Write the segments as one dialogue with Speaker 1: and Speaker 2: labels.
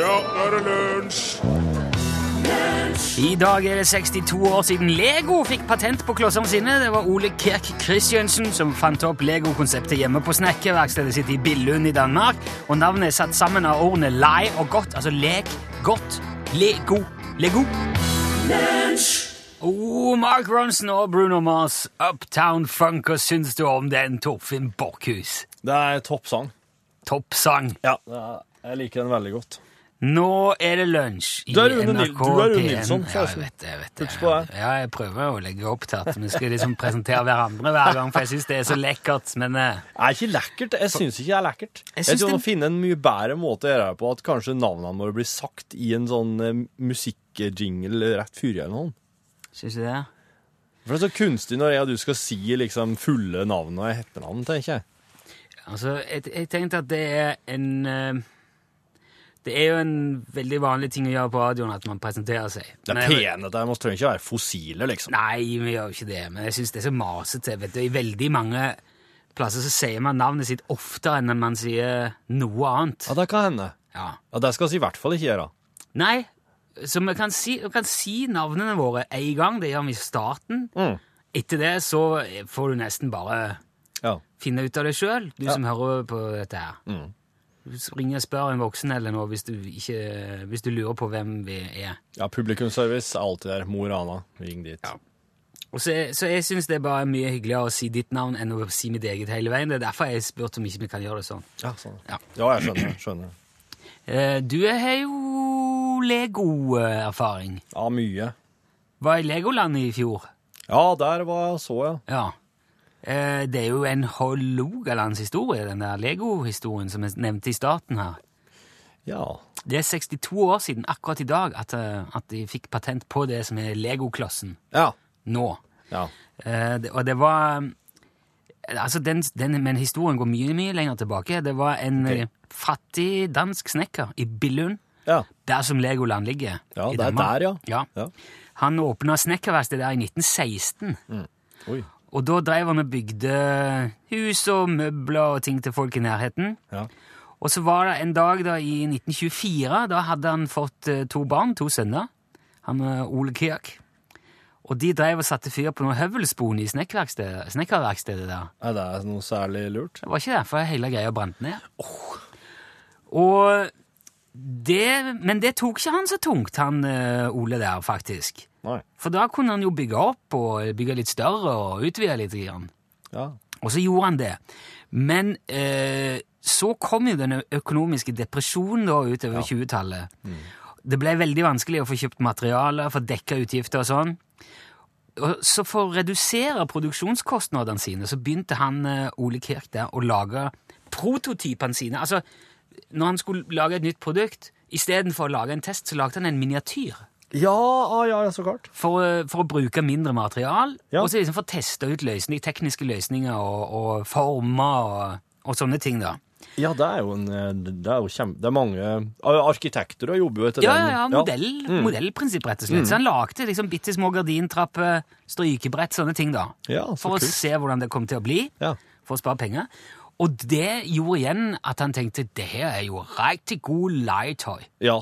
Speaker 1: Ja, nå er det lunsj!
Speaker 2: I dag er det 62 år siden Lego fikk patent på klossene sine. Det var Ole Kirk Christiansen som fant opp Lego-konseptet hjemme på snekkerverkstedet sitt i Billund i Danmark. Og navnet er satt sammen av ordene lei og godt, altså lek, godt, lego, lego. Oh, Mark Ronson og Bruno Mars, Uptown Funk, hva syns du om den, Torfinn Borkhus?
Speaker 3: Det er toppsang.
Speaker 2: Toppsang.
Speaker 3: Ja. Det er, jeg liker den veldig godt.
Speaker 2: Nå er det lunsj i
Speaker 3: Du er Rune Nil-
Speaker 2: NRK
Speaker 3: du er Rune
Speaker 2: P1.
Speaker 3: Nilsson,
Speaker 2: Ja, jeg
Speaker 3: forresten.
Speaker 2: vet det. jeg vet det.
Speaker 3: Husk på det.
Speaker 2: Ja, jeg prøver å legge opp til at vi skal liksom presentere hverandre hver gang, for jeg syns det er så lekkert. Men eh,
Speaker 3: Det er ikke lekkert. Jeg syns ikke det er lekkert. Jeg,
Speaker 2: synes
Speaker 3: tror
Speaker 2: det-
Speaker 3: man finner en mye bedre måte å gjøre det på, at kanskje navnene våre blir sagt i en sånn eh, musikkjingle rett før eller noe.
Speaker 2: syns du det?
Speaker 3: For det er så kunstig når jeg og du skal si liksom fulle navn og etternavn, tenker jeg.
Speaker 2: Altså, jeg, jeg tenkte at det er en eh, Det er jo en veldig vanlig ting å gjøre på radioen, at man presenterer seg.
Speaker 3: Det
Speaker 2: Men
Speaker 3: er
Speaker 2: jeg-
Speaker 3: pene, det trenger ikke være fossiler, liksom.
Speaker 2: Nei, vi gjør jo ikke det, men jeg syns det er så masete. vet du. I veldig mange plasser så sier man navnet sitt oftere enn man sier noe annet.
Speaker 3: Ja, det kan hende.
Speaker 2: Ja.
Speaker 3: Ja, det skal vi i hvert fall ikke gjøre.
Speaker 2: Nei, så vi kan si, vi kan si navnene våre en gang, det gjør vi i starten.
Speaker 3: Mm.
Speaker 2: Etter det så får du nesten bare
Speaker 3: Ja.
Speaker 2: finne ut av det sjøl, du som hører på dette her. Så Ring og spør en voksen eller noe hvis du, ikke, hvis du lurer på hvem vi er.
Speaker 3: ja, publikumsservice er alltid der. Mor Ana, ring dit.
Speaker 2: Ja. Og så, så jeg syns det er bare mye hyggeligere å si ditt navn enn å si mitt eget hele veien. Det er derfor jeg spurte om ikke vi kan gjøre det sånn.
Speaker 3: Ja, sånn.
Speaker 2: Ja.
Speaker 3: ja. jeg skjønner. skjønner.
Speaker 2: Eh, Du har jo Lego-erfaring.
Speaker 3: Ja, mye.
Speaker 2: Var i Legoland i fjor.
Speaker 3: Ja, der var jeg så, ja.
Speaker 2: Ja. Eh, Det er jo en Hålogalandshistorie, den der Lego-historien som jeg nevnte i starten her.
Speaker 3: Ja.
Speaker 2: Det er 62 år siden akkurat i dag at, eh, at de fikk patent på det som er Lego-klossen
Speaker 3: Ja.
Speaker 2: nå.
Speaker 3: ja.
Speaker 2: Eh, det, og det var eh, Altså, den, den, men historien går mye, mye lenger tilbake. Det var en
Speaker 3: Ok.
Speaker 2: eh, fattig dansk snekker i Billund,
Speaker 3: Ja,
Speaker 2: der som Legoland ligger.
Speaker 3: Ja,
Speaker 2: i
Speaker 3: det er der,
Speaker 2: Danmark.
Speaker 3: ja.
Speaker 2: ja.
Speaker 3: ja.
Speaker 2: Han åpna snekkerverkstedet der i 1916.
Speaker 3: Oi.
Speaker 2: Og da drev han og bygde hus og møbler og ting til folk i nærheten.
Speaker 3: Ja.
Speaker 2: Og så var det en dag da i 1924, da hadde han fått eh, to barn, to sønner, han eh, Ole Kirk. Og de drev og satte fyr på noen høvelspon i snekkerverkstedet snekkerverkstedet der.
Speaker 3: Er det noe særlig lurt?
Speaker 2: Det var ikke derfor hele greia brant ned. Og det, men det tok ikke han så tungt, han eh, Ole der, faktisk.
Speaker 3: Nei.
Speaker 2: For da kunne han jo bygge opp og bygge litt større og utvide litt. Grann.
Speaker 3: Ja.
Speaker 2: Og så gjorde han det. Men eh, så kom jo den ø- økonomiske depresjonen da utover 20-tallet. Det ble veldig vanskelig å få kjøpt materialer, få dekka utgifter og sånn. Og så for å redusere produksjonskostnadene sine, så begynte han eh, Ole Kirk der å lage prototypene sine. Altså, når han skulle lage et nytt produkt, istedenfor å lage en test, så lagde han en miniatyr
Speaker 3: Ja, ah, ja, ja, så klart.
Speaker 2: for, å- for å bruke mindre material,
Speaker 3: Ja.
Speaker 2: og så liksom få testa ut løsning, tekniske løsninger og, og former og, og sånne ting, da.
Speaker 3: Ja, det er jo en eh, Det er jo kjempe... Det er mange ah, Arkitekter og jobber jo etter
Speaker 2: Ja,
Speaker 3: den. Mm.
Speaker 2: ja, ja, modell, modellprinsipp, rett og slett. Så han lagde liksom bitte små gardintrapper, strykebrett, sånne ting, da.
Speaker 3: Ja, så
Speaker 2: for å
Speaker 3: kult.
Speaker 2: se hvordan det kom til å bli,
Speaker 3: Ja.
Speaker 2: for å spare penger. Og det gjorde igjen at han tenkte det her er jo riktig god leietøy.
Speaker 3: Ja.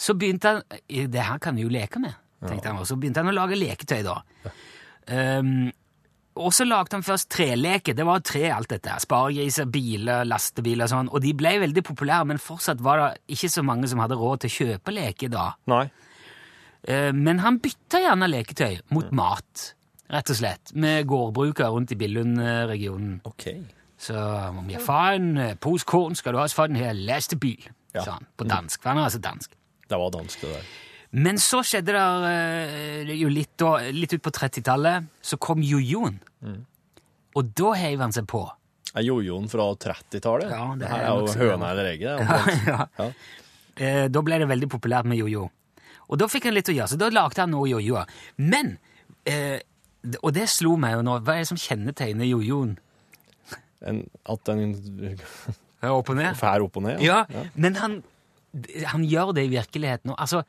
Speaker 2: Så begynte han Det her kan vi jo leke med, tenkte han. Og så begynte han å lage leketøy, da. Um, og så lagde han først treleke. Det var tre, alt dette. her. Sparegriser, biler, lastebiler og sånn. Og de ble veldig populære, men fortsatt var det ikke så mange som hadde råd til å kjøpe leke da.
Speaker 3: Nei.
Speaker 2: Eh, Men han bytta gjerne leketøy mot mat, rett og slett. Med gårdbrukere rundt i Billund-regionen.
Speaker 3: OK.
Speaker 2: Så om jeg får en eh, pose korn, skal du også få den her lastebil,
Speaker 3: Ja.
Speaker 2: sa han på dansk. For han er altså dansk.
Speaker 3: Det var dansk, det der.
Speaker 2: Men så skjedde det eh, jo litt, da, litt ut på 30-tallet, så kom jojoen. Og da heiv han seg på.
Speaker 3: Er jojoen fra 30-tallet?
Speaker 2: Ja, det er
Speaker 3: her
Speaker 2: nok
Speaker 3: er jo
Speaker 2: så-
Speaker 3: høna eller egget. det er omtrent.
Speaker 2: ja.
Speaker 3: Ja.
Speaker 2: Eh, Da ble det veldig populært med jojo. Og da fikk han litt å gjøre, så da lagde han noe jojoer. Men eh, Og det slo meg jo nå. Hva er det som kjennetegner jojoen?
Speaker 3: En, at den
Speaker 2: Ja, Opp og ned?
Speaker 3: fær opp og ned?
Speaker 2: Ja, men han, han gjør det i virkeligheten. Og Altså,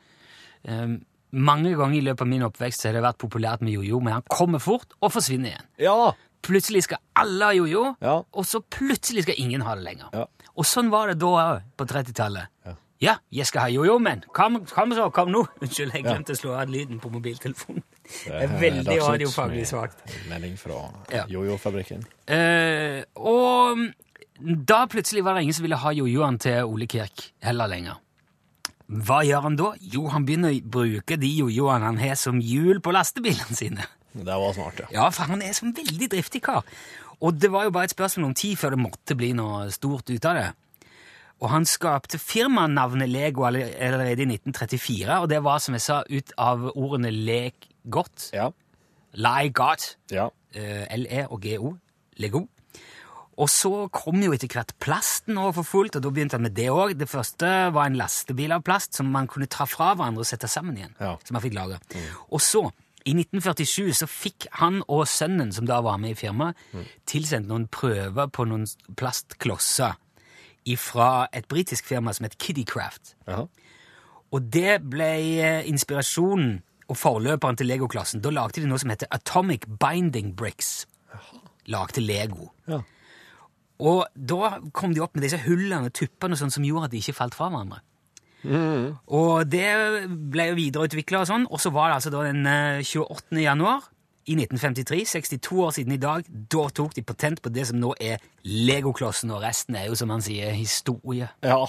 Speaker 2: eh, mange ganger i løpet av min oppvekst så har det vært populært med jojo, men han kommer fort og forsvinner igjen.
Speaker 3: Ja.
Speaker 2: Plutselig skal alle ha jojo,
Speaker 3: Ja.
Speaker 2: og så plutselig skal ingen ha det lenger.
Speaker 3: Ja.
Speaker 2: Og sånn var det da òg, på 30-tallet. Ja, jeg skal ha jojo-menn. Kom, kom så, kom nå. Unnskyld, jeg glemte å slå av lyden på mobiltelefonen. Det er veldig radiofaglig svakt.
Speaker 3: Melding fra
Speaker 2: Ja.
Speaker 3: Jojo-fabrikken.
Speaker 2: Eh, og da plutselig var det ingen som ville ha jojoen til Ole Kirk heller lenger. Hva gjør han da? Jo, han begynner å bruke de jojoene han har som hjul på lastebilene sine.
Speaker 3: Det var smart, ja.
Speaker 2: Ja, for han er som veldig driftig kar. Og det var jo bare et spørsmål om tid før det måtte bli noe stort ut av det. Og han skapte firmanavnet Lego alle- allerede i 1934, og det var, som jeg sa, ut av ordene lek godt,
Speaker 3: Ja.
Speaker 2: lie godt,
Speaker 3: ja.
Speaker 2: eh, LE og GO, Lego. Og så kom jo etter hvert plasten over for fullt, og da begynte han med det òg. Det første var en lastebil av plast som man kunne ta fra hverandre og sette sammen igjen.
Speaker 3: Ja.
Speaker 2: Som han fikk laga. Og så, i 1947, så fikk han og sønnen, som da var med i firmaet, tilsendt noen prøver på noen plastklosser fra et britisk firma som het Kiddycraft.
Speaker 3: Jaha.
Speaker 2: Og det ble eh, inspirasjonen og forløperen til Lego-klassen. Da lagde de noe som heter Atomic Binding Bricks. Lagde Lego.
Speaker 3: Ja.
Speaker 2: Og da kom de opp med disse hullene og tuppene og sånn som gjorde at de ikke falt fra hverandre. Og det ble jo videreutvikla og sånn, og så var det altså da den eh, 28. januar i 1953, 62 år siden i dag, da tok de patent på det som nå er Legoklossen, og resten er jo, som han sier, historie.
Speaker 3: ja.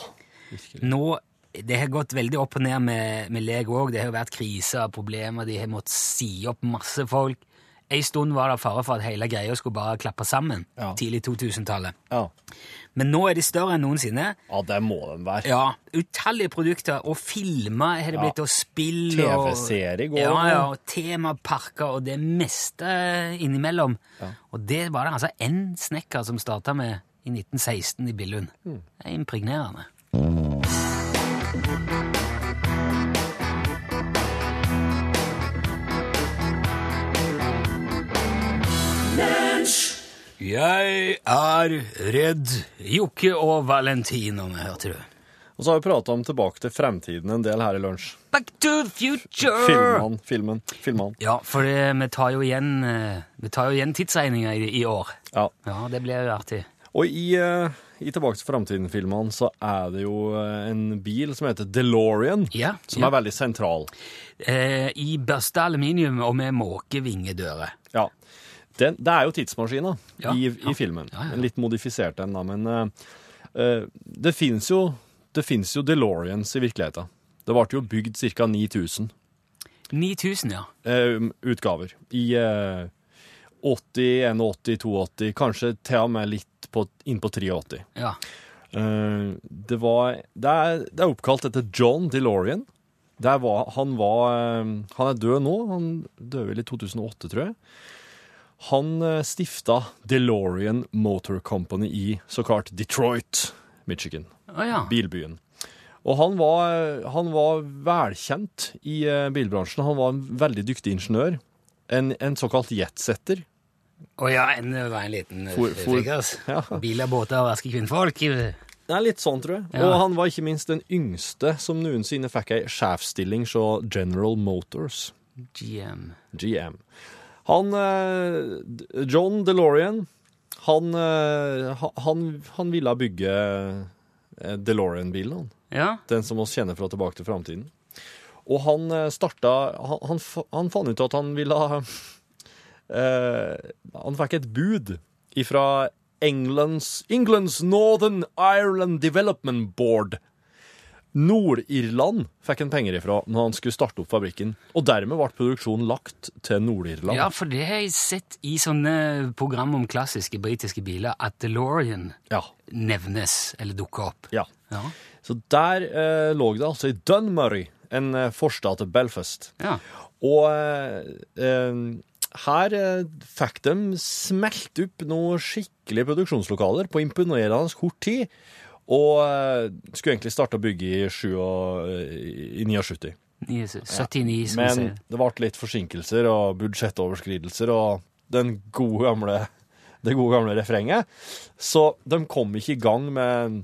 Speaker 2: Nå, Det har gått veldig opp og ned med, med Lego òg. Det har jo vært kriser og problemer. De har måttet si opp masse folk. En stund var det fare for at hele greia skulle bare klappe sammen.
Speaker 3: Ja.
Speaker 2: Tidlig 2000-tallet.
Speaker 3: Ja.
Speaker 2: Men nå er de større enn noensinne.
Speaker 3: ja, det må de være.
Speaker 2: Ja, Utallige produkter og filmer har det blitt, og spill og
Speaker 3: TV-serie går
Speaker 2: Ja,
Speaker 3: det på.
Speaker 2: ja, og temaparker og det meste innimellom. Og det var det altså én snekker som starta med i 1916 i Billund.
Speaker 3: Hmm.
Speaker 2: Det er impregnerende. Jeg er redd Jokke og Valentinoen, hørte du.
Speaker 3: Og så har vi prata om Tilbake til fremtiden en del her i lunsj.
Speaker 2: Back to
Speaker 3: Øh!
Speaker 2: the future!
Speaker 3: Filmene, filmen, filmene.
Speaker 2: Ja, for det, vi tar jo igjen, eh, vi tar jo igjen tidsregninga i, i år.
Speaker 3: Ja.
Speaker 2: Ja, det blir jo artig.
Speaker 3: Og i, eh, i Tilbake til fremtiden-filmene så er det jo eh, en bil som heter DeLorean,
Speaker 2: Ja,
Speaker 3: som
Speaker 2: ja.
Speaker 3: er veldig sentral.
Speaker 2: Eh, I børsta aluminium og med måkevingedører.
Speaker 3: Ja. Den, det er jo tidsmaskina
Speaker 2: Ja,
Speaker 3: i,
Speaker 2: ja.
Speaker 3: i filmen.
Speaker 2: Ja, ja.
Speaker 3: En litt modifisert en, da. Men eh, eh, det fins jo, det finnes jo DeLoreans i virkeligheten. Det ble jo bygd ca. 9000
Speaker 2: 9000, ja.
Speaker 3: eh, utgaver i eh, 80, 81, 82, kanskje til og med litt på, inn på 83.
Speaker 2: ja.
Speaker 3: Eh, det var det er, det er oppkalt etter John DeLorean. Der var, han var eh, Han er død nå. Han døde vel i 2008, tror jeg. Han eh, stifta DeLorean Motor Company i såkalt Detroit, Michigan.
Speaker 2: Å ja.
Speaker 3: Bilbyen. Og han var, han var velkjent i eh, bilbransjen. Han var en veldig dyktig ingeniør. En, en såkalt jetsetter.
Speaker 2: Å ja, en det var en liten eh,
Speaker 3: For-
Speaker 2: for,
Speaker 3: for- Ja.
Speaker 2: Biler, båter og eh, raske kvinnfolk.
Speaker 3: Det er litt sånn, tror jeg.
Speaker 2: Ja.
Speaker 3: Og han var ikke minst den yngste som noensinne fikk ei sjefsstilling hos General Motors,
Speaker 2: GM.
Speaker 3: GM. Han eh, D- John DeLorean, han, eh, ha- han, han ville bygge eh, DeLorean-bilen, han.
Speaker 2: Ja.
Speaker 3: Den som oss kjenner fra Tilbake til framtiden. Og han eh, starta han, han, fa- han fant ut at han ville ha eh, Han fikk et bud ifra Englands, Englands Northern Ireland Development Board. Nord-Irland fikk han penger ifra når han skulle starte opp fabrikken. Og dermed ble produksjonen lagt til Nord-Irland.
Speaker 2: ja, for det har jeg sett i sånne program om klassiske britiske biler, at DeLorean
Speaker 3: Ja.
Speaker 2: nevnes eller dukker opp.
Speaker 3: ja.
Speaker 2: Ja.
Speaker 3: Så der eh, lå det altså i Dunmurry, en eh, forstad til Belfast.
Speaker 2: ja.
Speaker 3: Og eh, eh, her eh, fikk de smelt opp noen skikkelige produksjonslokaler på imponerende kort tid, og eh, skulle egentlig starte å bygge i, sju og, eh, i 79.
Speaker 2: 79, som vi
Speaker 3: Men
Speaker 2: sier.
Speaker 3: det ble litt forsinkelser og budsjettoverskridelser og den gode gamle, det gode gamle refrenget. Så de kom ikke i gang med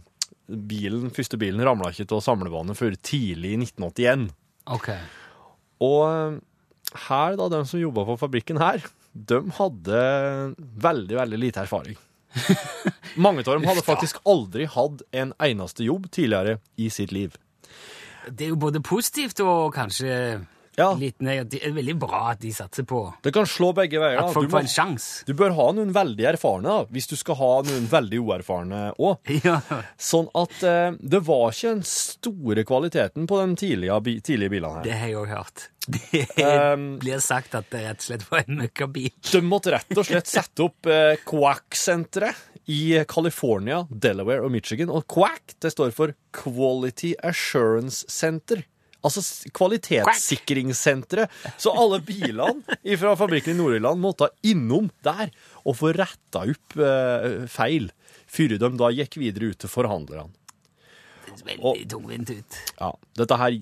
Speaker 3: bilen. Første bilen ramla ikke til samlebåndet før tidlig i 1981.
Speaker 2: Ok.
Speaker 3: Og eh, her, da, de som jobba på fabrikken her, de hadde veldig, veldig lite erfaring. Mange av dem hadde faktisk aldri hatt en eneste jobb tidligere i sitt liv.
Speaker 2: Det er jo både positivt og kanskje
Speaker 3: Ja,
Speaker 2: litt negativt. Det er veldig bra at de satser på
Speaker 3: det kan slå begge veier.
Speaker 2: at
Speaker 3: da.
Speaker 2: folk
Speaker 3: Du må-
Speaker 2: får en sjanse.
Speaker 3: Du bør ha noen veldig erfarne, da, hvis du skal ha noen veldig uerfarne òg.
Speaker 2: Ja.
Speaker 3: Sånn at eh, det var ikke den store kvaliteten på de tidlige, bi tidlige bilene her.
Speaker 2: Det har jeg òg hørt. Det
Speaker 3: Um,
Speaker 2: blir sagt at det rett og slett var en møkkabil.
Speaker 3: De måtte rett og slett sette opp eh, Quack-senteret i California, Delaware og Michigan. Og Quack det står for Quality Assurance Center. Altså s- kvalitetssikringssenteret. Så alle bilene fra fabrikken i Nord-Irland måtte innom der og få retta opp eh, feil, før de da gikk videre ut til forhandlerne.
Speaker 2: Det ser Veldig tungvint ut.
Speaker 3: Ja, dette her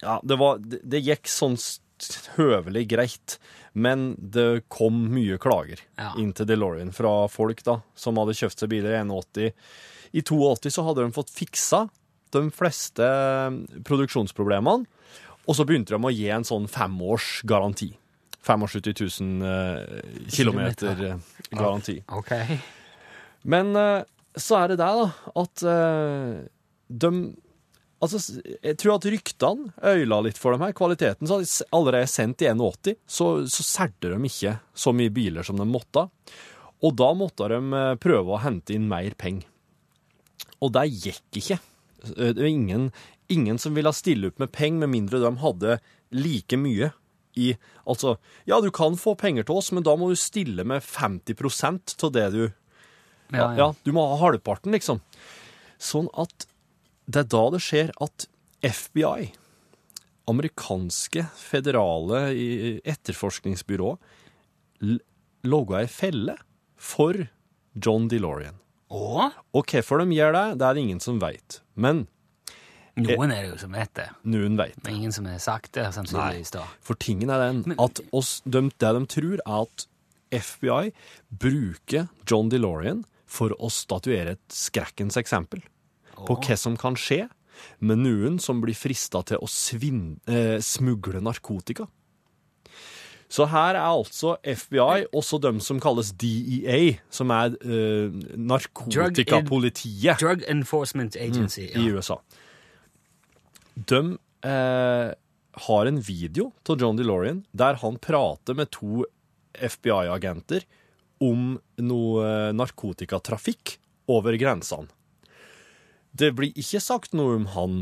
Speaker 3: Ja, det var Det, det gikk sånn s- høvelig greit, men det kom mye klager
Speaker 2: Ja.
Speaker 3: inn til DeLorean fra folk da, som hadde kjøpt seg biler i 81. I 82 så hadde de fått fiksa de fleste mm, produksjonsproblemene, og så begynte de å gi en sånn femårs garanti. 75 000 eh, kilometer eh, garanti.
Speaker 2: Ok.
Speaker 3: Men eh, så er det der, da, at eh, de Altså, s- jeg tror at ryktene øyla litt for dem her. Kvaliteten så hadde de s- allerede sendt i 81, så, så solgte de ikke så mye biler som de måtte. Og da måtte de eh, prøve å hente inn mer penger. Og det gikk ikke. Eh, Det var ingen, ingen som ville stille opp med penger, med mindre de hadde like mye i Altså, ja, du kan få penger til oss, men da må du stille med 50 av det du ja, ja. du må ha halvparten, liksom. Sånn at det er da det skjer at FBI, amerikanske federale i- etterforskningsbyrå, l- logga ei felle for John DeLorean.
Speaker 2: Og
Speaker 3: Og hvorfor de gjør det, det er det ingen som veit. Men
Speaker 2: noen er det jo som vet det.
Speaker 3: noen veit.
Speaker 2: Men ingen som har sagt det, sannsynligvis. da.
Speaker 3: For tingen er den at oss, de, det de tror er at FBI bruker John DeLorean for å statuere et skrekkens eksempel på hva som kan skje med noen som blir frista til å svin, eh, smugle narkotika. Så her er altså FBI, også dem som kalles DEA, som er eh, narkotikapolitiet
Speaker 2: Drug Enforcement Agency.
Speaker 3: Mm. i
Speaker 2: Ja.
Speaker 3: USA. De eh, har en video av John DeLorean der han prater med to FBI-agenter om noe eh, narkotikatrafikk over grensene. Det blir ikke sagt noe om han,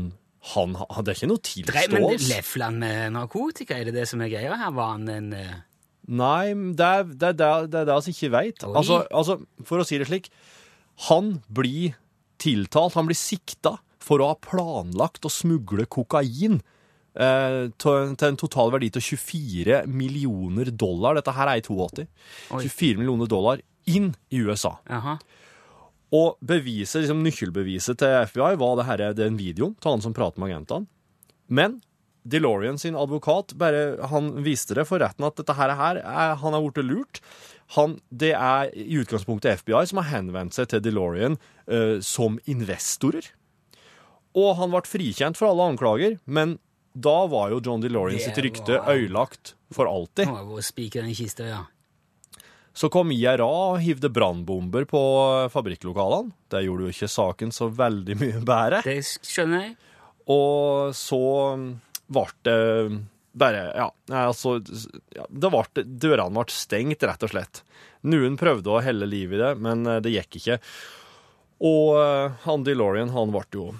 Speaker 3: han, han Det er ikke noe
Speaker 2: Drev, men det-
Speaker 3: tilståelse.
Speaker 2: lefla han med narkotika? Er det det som er greia her? Var han en eh,
Speaker 3: Nei, men det er det er det- det er det vi ikke veit.
Speaker 2: Oi.
Speaker 3: Altså, altså, for å si det slik, han blir tiltalt, han blir sikta for å ha planlagt å smugle kokain eh, til til en total verdi til 24 millioner dollar. Dette her er i 82.
Speaker 2: Oi.
Speaker 3: 24 millioner dollar inn i USA.
Speaker 2: Jaha.
Speaker 3: Og beviset, liksom nøkkelbeviset til FBI var det her, den videoen til han som prater med agentene. Men DeLorean sin advokat bare, han viste det for retten at dette her, her er, han er blitt lurt. Han, det er i utgangspunktet FBI som har henvendt seg til DeLorean eh, som investorer. Og han ble frikjent for alle anklager, men da var jo John DeLorean
Speaker 2: Det
Speaker 3: sitt rykte
Speaker 2: var-
Speaker 3: ødelagt for alltid.
Speaker 2: Han var vår spiker i kista, ja.
Speaker 3: Så kom IRA og hivde brannbomber på fabrikklokalene. Det gjorde jo ikke saken så veldig mye bedre.
Speaker 2: Det skjønner jeg.
Speaker 3: Og så ble det bare Ja, nei, altså ja, det ble, Dørene ble stengt, rett og slett. Noen prøvde å helle liv i det, men eh, det gikk ikke. Og eh, han DeLorean, han ble jo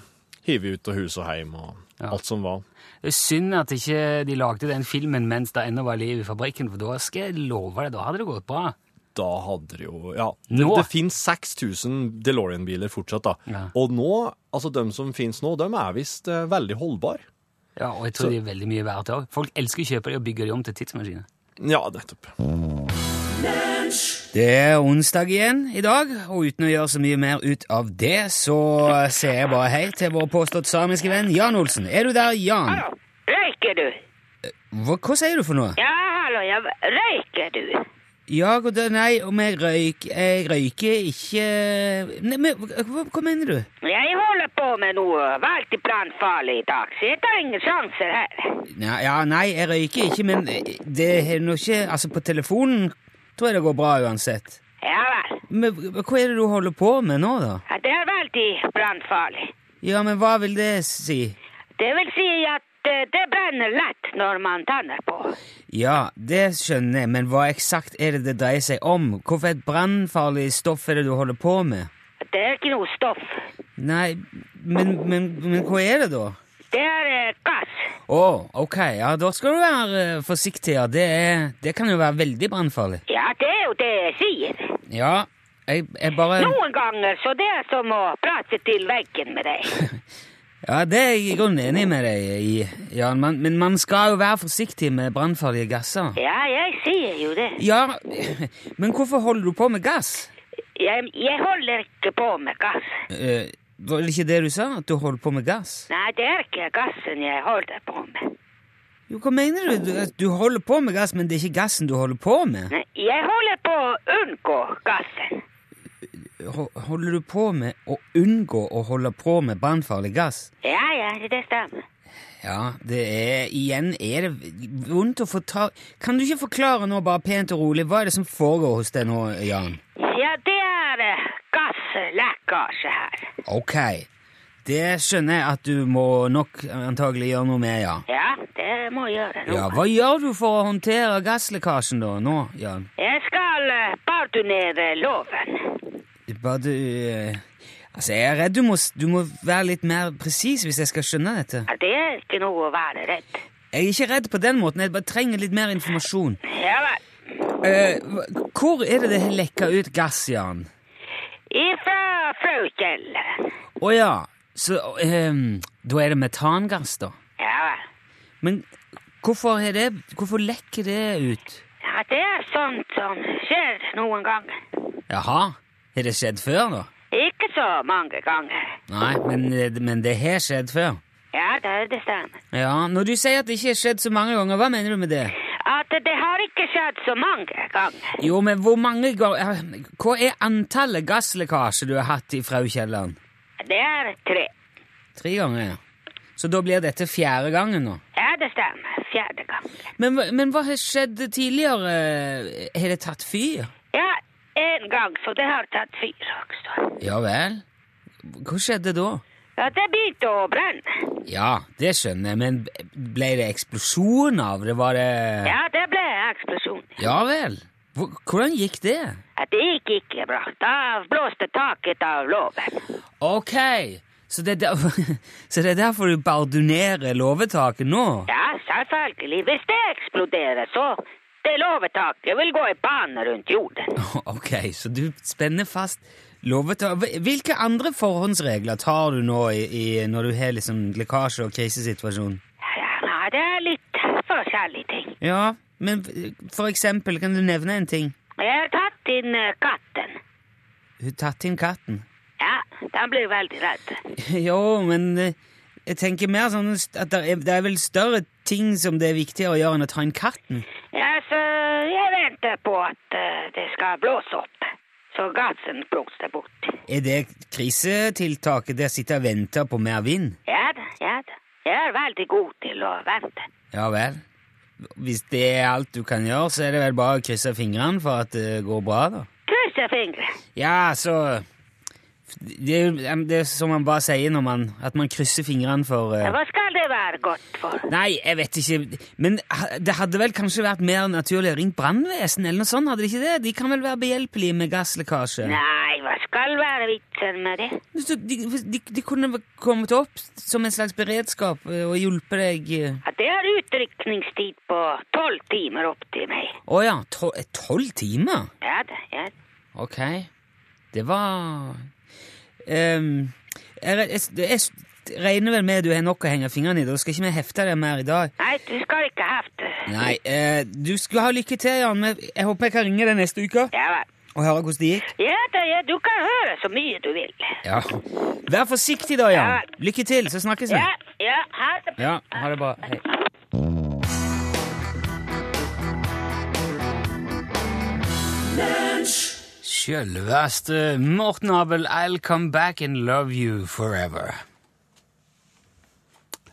Speaker 3: hivet ut av hus og hjem og
Speaker 2: Ja.
Speaker 3: alt som var.
Speaker 2: Det er synd at ikke de lagde den filmen mens det ennå var liv i fabrikken, for da skal jeg love deg, da hadde det gått bra.
Speaker 3: da hadde det jo Ja. Det,
Speaker 2: Nå?
Speaker 3: det fins 6000 DeLorean-biler fortsatt, da.
Speaker 2: Ja.
Speaker 3: Og nå, altså de som fins nå, de er visst eh, veldig holdbare.
Speaker 2: Ja, Og jeg tror de er veldig mye verdt òg. Folk elsker å kjøpe de og bygge de om til tidsmaskiner.
Speaker 3: Ja, nettopp.
Speaker 2: Det er onsdag igjen i dag, og uten å gjøre så mye mer ut av det, så sier jeg bare hei til vår påstått samiske venn Jan Olsen. Er du der, Jan?
Speaker 4: Hallo, røyker du?
Speaker 2: Hva, hva sier du for noe?
Speaker 4: Ja, hallo, ja, røyker du?
Speaker 2: Ja, god dag, nei, om jeg røyker Jeg røyker ikke Nei, men hva, hva- hva mener du?
Speaker 4: Jeg holder på med noe veldig brannfarlig i dag, så jeg tar ingen sjanser her.
Speaker 2: Ja, ja, nei, jeg røyker ikke, men eh, det er nå ikke Altså, på telefonen tror jeg det går bra uansett.
Speaker 4: Ja vel,
Speaker 2: Men hva er det du holder på med nå, da?
Speaker 4: ja, det er veldig brannfarlig.
Speaker 2: Ja, men hva vil det si?
Speaker 4: Det vil si at eh, det brenner lett når man tenner på.
Speaker 2: Ja, det skjønner jeg, men hva eksakt er det det dreier seg om? Hvorfor et brannfarlig stoff er det du holder på med?
Speaker 4: Det er ikke noe stoff.
Speaker 2: Nei, men, men, men hva er det da?
Speaker 4: Det er eh, gass.
Speaker 2: Å, ok, ja, da skal du være eh, forsiktig, ja. Det, er, det kan jo være veldig brannfarlig.
Speaker 4: Ja, det er jo det jeg sier.
Speaker 2: Ja, jeg, jeg bare
Speaker 4: Noen ganger så det er som å prate til veggen med deg.
Speaker 2: Ja, det er jeg i grunnen enig med deg i, Jan, men, men man skal jo være forsiktig med brannfarlige gasser.
Speaker 4: Ja, jeg sier jo det.
Speaker 2: Ja, men hvorfor holder du på med gass?
Speaker 4: Jeg, jeg holder ikke på med gass.
Speaker 2: Eh, var det ikke det du sa, at du holder på med gass?
Speaker 4: Nei, det er ikke gassen jeg holder på med.
Speaker 2: Jo, hva mener du? du? at Du holder på med gass, men det er ikke gassen du holder på med.
Speaker 4: Nei, Jeg holder på å unngå gassen.
Speaker 2: Ho- Holder du på med å unngå å holde på med brannfarlig gass?
Speaker 4: Ja, ja, det stemmer.
Speaker 2: Ja, det er Igjen er det vondt å få ta Kan du ikke forklare nå, bare pent og rolig, hva er det som foregår hos deg nå, Jan?
Speaker 4: Ja, det er eh, gasslekkasje her.
Speaker 2: Ok, det skjønner jeg at du må nok antagelig gjøre noe med, ja.
Speaker 4: Ja, det må jeg gjøre nå.
Speaker 2: Ja, Hva gjør du for å håndtere gasslekkasjen da, nå, Jan?
Speaker 4: Jeg skal eh, pardonere loven.
Speaker 2: Bare du eh, Altså, jeg er redd du må, s- du må være litt mer presis hvis jeg skal skjønne dette.
Speaker 4: Ja, Det er ikke noe å være redd.
Speaker 2: Jeg er ikke redd på den måten, jeg bare trenger litt mer informasjon.
Speaker 4: Ja vel.
Speaker 2: Eh, hva- hvor er det det har lekka ut gass, Jan?
Speaker 4: Ifra frøkjelleren.
Speaker 2: Å ja, så ehm, Da er det metangass, da?
Speaker 4: Ja vel.
Speaker 2: Men hvorfor, er det, hvorfor lekker det ut?
Speaker 4: Ja, det er sånt som skjer noen ganger.
Speaker 2: Jaha, har det skjedd før, da?
Speaker 4: Ikke så mange ganger.
Speaker 2: Nei, men, eh, men det har skjedd før.
Speaker 4: Ja, det er det stemmer.
Speaker 2: Ja, Når du sier at det ikke har skjedd så mange ganger, hva mener du med det?
Speaker 4: At det har ikke skjedd så mange ganger.
Speaker 2: Jo, men hvor mange ganger Hva er antallet gasslekkasjer du har hatt i fraukjelleren?
Speaker 4: Det er tre.
Speaker 2: Tre ganger, ja. Så da blir dette fjerde gangen nå.
Speaker 4: Ja, det stemmer. Fjerde gang.
Speaker 2: Men, hva- men hva har skjedd tidligere? Har det tatt fyr?
Speaker 4: Ja, en gang, så det har tatt fyr også.
Speaker 2: Ja vel. Hva skjedde da?
Speaker 4: Ja, det begynte å brenne.
Speaker 2: Ja, det skjønner jeg, men ble det eksplosjon av det? Var det
Speaker 4: Ja, det ble eksplosjon.
Speaker 2: Ja vel. Hvor- Hvordan gikk det?
Speaker 4: Ja, det gikk ikke bra. Da blåste taket av låven.
Speaker 2: Ok, så det er, der... så det er derfor du bardunerer låvetaket nå?
Speaker 4: Ja, selvfølgelig. Hvis det eksploderer, så det låvetaket vil gå i bane rundt jorden.
Speaker 2: Ok, så du spenner fast låvetaket. Hvil- Hvilke andre forhåndsregler tar du nå i, i, når du har liksom lekkasje og krisesituasjon?
Speaker 4: Ja, nei, det er litt forskjellige ting.
Speaker 2: Ja, men f- for eksempel, kan du nevne en ting?
Speaker 4: Jeg har tatt inn eh, katten.
Speaker 2: Hun tatt inn katten.
Speaker 4: Ja, den blir veldig redd.
Speaker 2: jo, men eh, jeg tenker mer sånn at det er, det er vel større ting som det er viktigere å gjøre enn å ta inn katten.
Speaker 4: Ja, så jeg venter på at eh, det skal blåse opp. Så gassen blåser bort.
Speaker 2: Er det krisetiltaket der sitter og venter på mer vind?
Speaker 4: Ja da, ja da. Jeg er veldig god til å vente.
Speaker 2: Ja vel. Hvis det er alt du kan gjøre, så er det vel bare å krysse fingrene for at det går bra, da.
Speaker 4: Krysse fingre.
Speaker 2: Ja, altså det, er jo- det er som man bare sier når man At man krysser fingrene for eh,
Speaker 4: Hva skal det være godt for?
Speaker 2: Nei, jeg vet ikke. Men ha- det hadde vel kanskje vært mer naturlig å ringe brannvesenet eller noe sånt? hadde det ikke det? De kan vel være behjelpelige med gasslekkasje?
Speaker 4: Nei, hva skal være vitsen med det?
Speaker 2: Så De, de, de kunne vel kommet opp som en slags beredskap eh, og hjulpet deg eh.
Speaker 4: At det er utrykningstid på tolv timer opp til meg.
Speaker 2: Å ja, tol- eh, tolv timer?
Speaker 4: Ja da, ja da.
Speaker 2: Ok. Det var Ehm, jeg, re- jeg, jeg regner vel med du har nok å henge fingrene i. Da skal ikke vi hefte deg mer i dag.
Speaker 4: Nei, du skal ikke hefte.
Speaker 2: Nei, eh, du skal ha lykke til, Jan. men Jeg håper jeg kan ringe deg neste uke
Speaker 4: Ja vel.
Speaker 2: og høre hvordan det gikk.
Speaker 4: Ja da, ja, du kan høre så mye du vil.
Speaker 2: Ja. Vær forsiktig da, Jan. Lykke til, så snakkes vi.
Speaker 4: Ja, ja, ha det.
Speaker 2: Ja, ha det bra. Hei.
Speaker 5: Sjølveste Morten Abel, I'll come back and love you forever.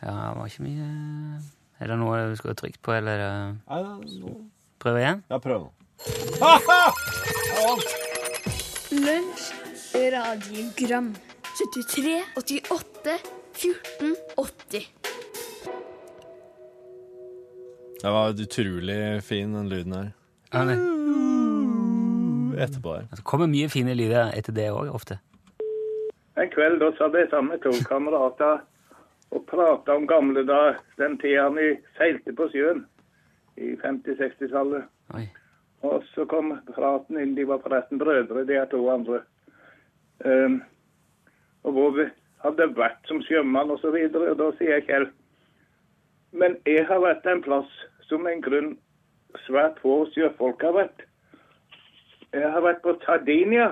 Speaker 5: Ja, det var ikke mye Er det noe du skulle ha trykt på, eller eh,
Speaker 6: Nei, nå...
Speaker 5: prøve igjen?
Speaker 6: Jeg prøver nå.
Speaker 7: Lunsj, radiogram 73, 88, 14, 80
Speaker 3: Det var utrolig fin, den lyden her.
Speaker 2: Ja, det
Speaker 3: Etterpå her.
Speaker 5: altså,
Speaker 2: det kommer mye fine lyder etter det òg, ofte.
Speaker 8: En kveld da satt jeg sammen med to kamerater og prata om gamle dager, den tida vi seilte på sjøen i 50-60-tallet.
Speaker 2: Oi.
Speaker 8: Og så kom praten inn, de var forresten brødre, de er to andre. Ehm, og hvor vi hadde vært som sjømann og så videre, og da sier Kjell Men jeg har vært en plass som en grunn svært få sjøfolk har vært. Jeg har vært på Sardinia,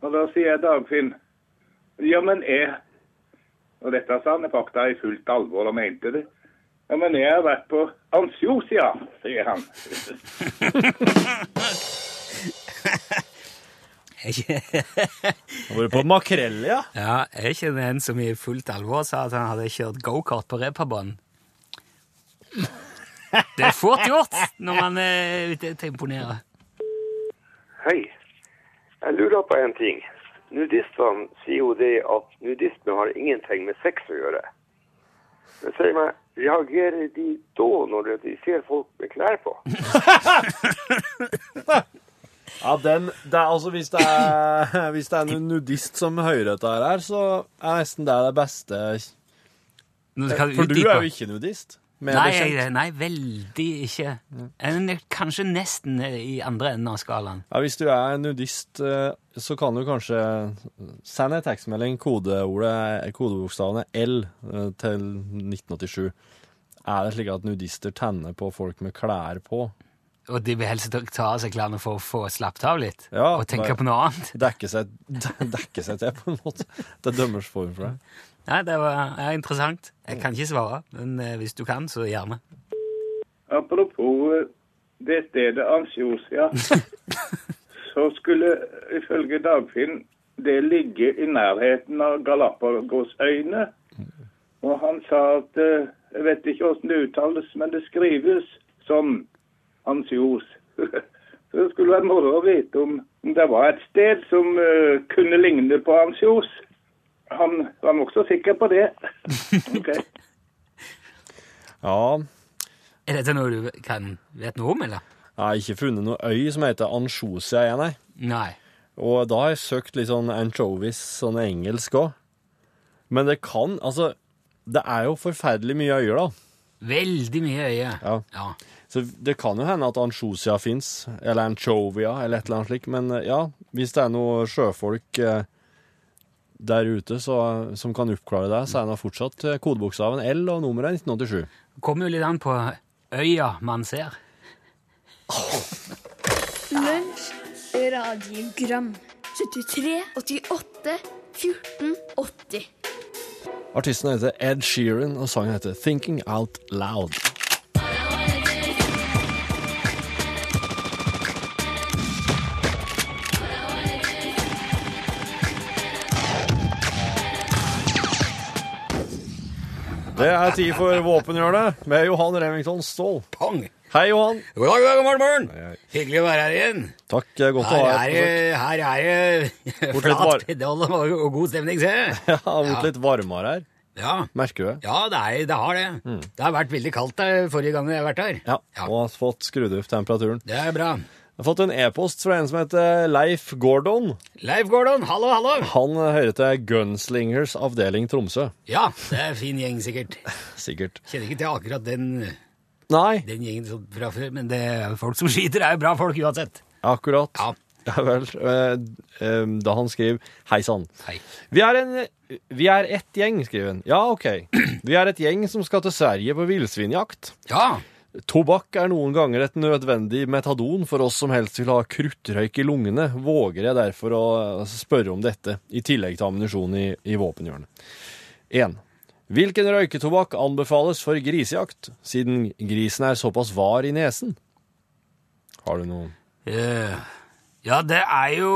Speaker 8: og da sier Dagfinn Ja, men jeg Og dette sa han i fakta i fullt alvor og mente det. Ja, men jeg har vært på Ansiosia, sier han.
Speaker 3: Har vært på makrell, ja.
Speaker 2: Ja, er ikke det en som i fullt alvor sa at han hadde kjørt gokart på reperbanen? Det er fort gjort når man er ute til å imponere.
Speaker 9: Hei. Jeg lurer på en ting. Nudistene sier jo det at nudisme har ingenting med sex å gjøre. Men sier meg, reagerer de da når de ser folk med klær på?
Speaker 3: Ja, den, det er altså Hvis det er, hvis det er en nudist som hører dette her, så er nesten det det beste
Speaker 2: Nå skal vi
Speaker 3: For du
Speaker 2: utdype.
Speaker 3: er jo ikke nudist. mer
Speaker 2: Nei,
Speaker 3: bekjent.
Speaker 2: jeg, nei, veldig ikke. En, kanskje nesten i andre enden av skalaen.
Speaker 3: Ja, Hvis du er nudist, eh, så kan du kanskje sende en tekstmelding. Kodeordet, kodebokstavene L eh, til 1987. Er det slik at nudister tenner på folk med klær på?
Speaker 2: Og de vil helst ta av seg klærne for å få slappet av litt
Speaker 3: Ja,
Speaker 2: og tenke
Speaker 3: bare-
Speaker 2: på noe annet.
Speaker 3: Dekke seg, de- dekke seg til, på en måte. Det er dømmers form for deg.
Speaker 2: Nei, det var er interessant. Jeg kan ikke svare, men eh, hvis du kan, så gjerne.
Speaker 8: Apropos eh, det stedet Ansjosia, så skulle ifølge Dagfinn det ligge i nærheten av Galapagosøyene. Og han sa at eh, jeg vet ikke hvordan det uttales, men det skrives som Ansjos. Så det skulle være moro å vite om om det var et sted som eh, kunne ligne på Ansjos. Han var nokså sikker på det. Ok.
Speaker 3: Ja,
Speaker 2: Er dette noe du kan, vet noe om, eller?
Speaker 3: jeg har ikke funnet noe øy som heter Ansjosia igjen, nei.
Speaker 2: Nei.
Speaker 3: Og da har jeg søkt litt sånn anchovies, sånn engelsk òg. Men det kan Altså, det er jo forferdelig mye øyer, da.
Speaker 2: Veldig mye øye.
Speaker 3: Ja.
Speaker 2: ja.
Speaker 3: Så det kan jo hende at ansjosia fins, eller anchovia, eller et eller annet slikt. Men eh, ja, hvis det er noen sjøfolk eh, der ute så, som kan oppklare det, så er det fortsatt eh, kodebokstaven L og nummeret er 1987.
Speaker 2: Kommer jo litt an på øya man ser.
Speaker 7: Lunsj, radiogram 73, 88, 14, 80
Speaker 3: Artisten heter Ed Sheeran, og sangen heter Thinking Out Loud. Det er tid for Våpenhjørnet med Johan Remington Ståhl.
Speaker 2: Pang!
Speaker 3: Hei, Johan.
Speaker 2: God dag, god morgen, morgen! Hyggelig å være her igjen.
Speaker 3: Takk. det er Godt å
Speaker 2: Her
Speaker 3: ha
Speaker 2: er det, her er det
Speaker 3: Bort litt
Speaker 2: flat
Speaker 3: var-
Speaker 2: pedal og og god stemning, se!
Speaker 3: Jeg har blitt litt varmere her.
Speaker 2: Ja,
Speaker 3: Merker du det?
Speaker 2: ja det, er, det har det. Det har vært veldig kaldt der forrige gang jeg har vært her.
Speaker 3: Ja. Og har fått skrudd opp temperaturen.
Speaker 2: Det er bra.
Speaker 3: Jeg har fått en e-post fra en som heter Leif Gordon.
Speaker 2: Leif Gordon, hallo, hallo!
Speaker 3: Han hører til Gunslingers avdeling Tromsø.
Speaker 2: Ja, det er fin gjeng, sikkert.
Speaker 3: Sikkert.
Speaker 2: Kjenner ikke til akkurat den,
Speaker 3: Nei,
Speaker 2: den gjengen som fra før, men det er jo folk som skyter, er jo bra folk uansett.
Speaker 3: akkurat.
Speaker 2: Ja.
Speaker 3: Ja vel. eh, eh, Da han skriver Hei sann.
Speaker 2: Hei.
Speaker 3: Vi er, en, vi er ett gjeng, skriver han. Ja, OK. Vi er et gjeng som skal til Sverige på villsvinjakt.
Speaker 2: Ja,
Speaker 3: Tobakk er noen ganger et nødvendig metadon for oss som helst vil ha kruttrøyk i lungene, våger jeg derfor å eh, spørre om dette, i tillegg til ammunisjon i, i våpenhjørnet. 1. Hvilken røyketobakk anbefales for grisejakt, siden grisen er såpass var i nesen? Har du noe
Speaker 2: Eh, Ja, det er jo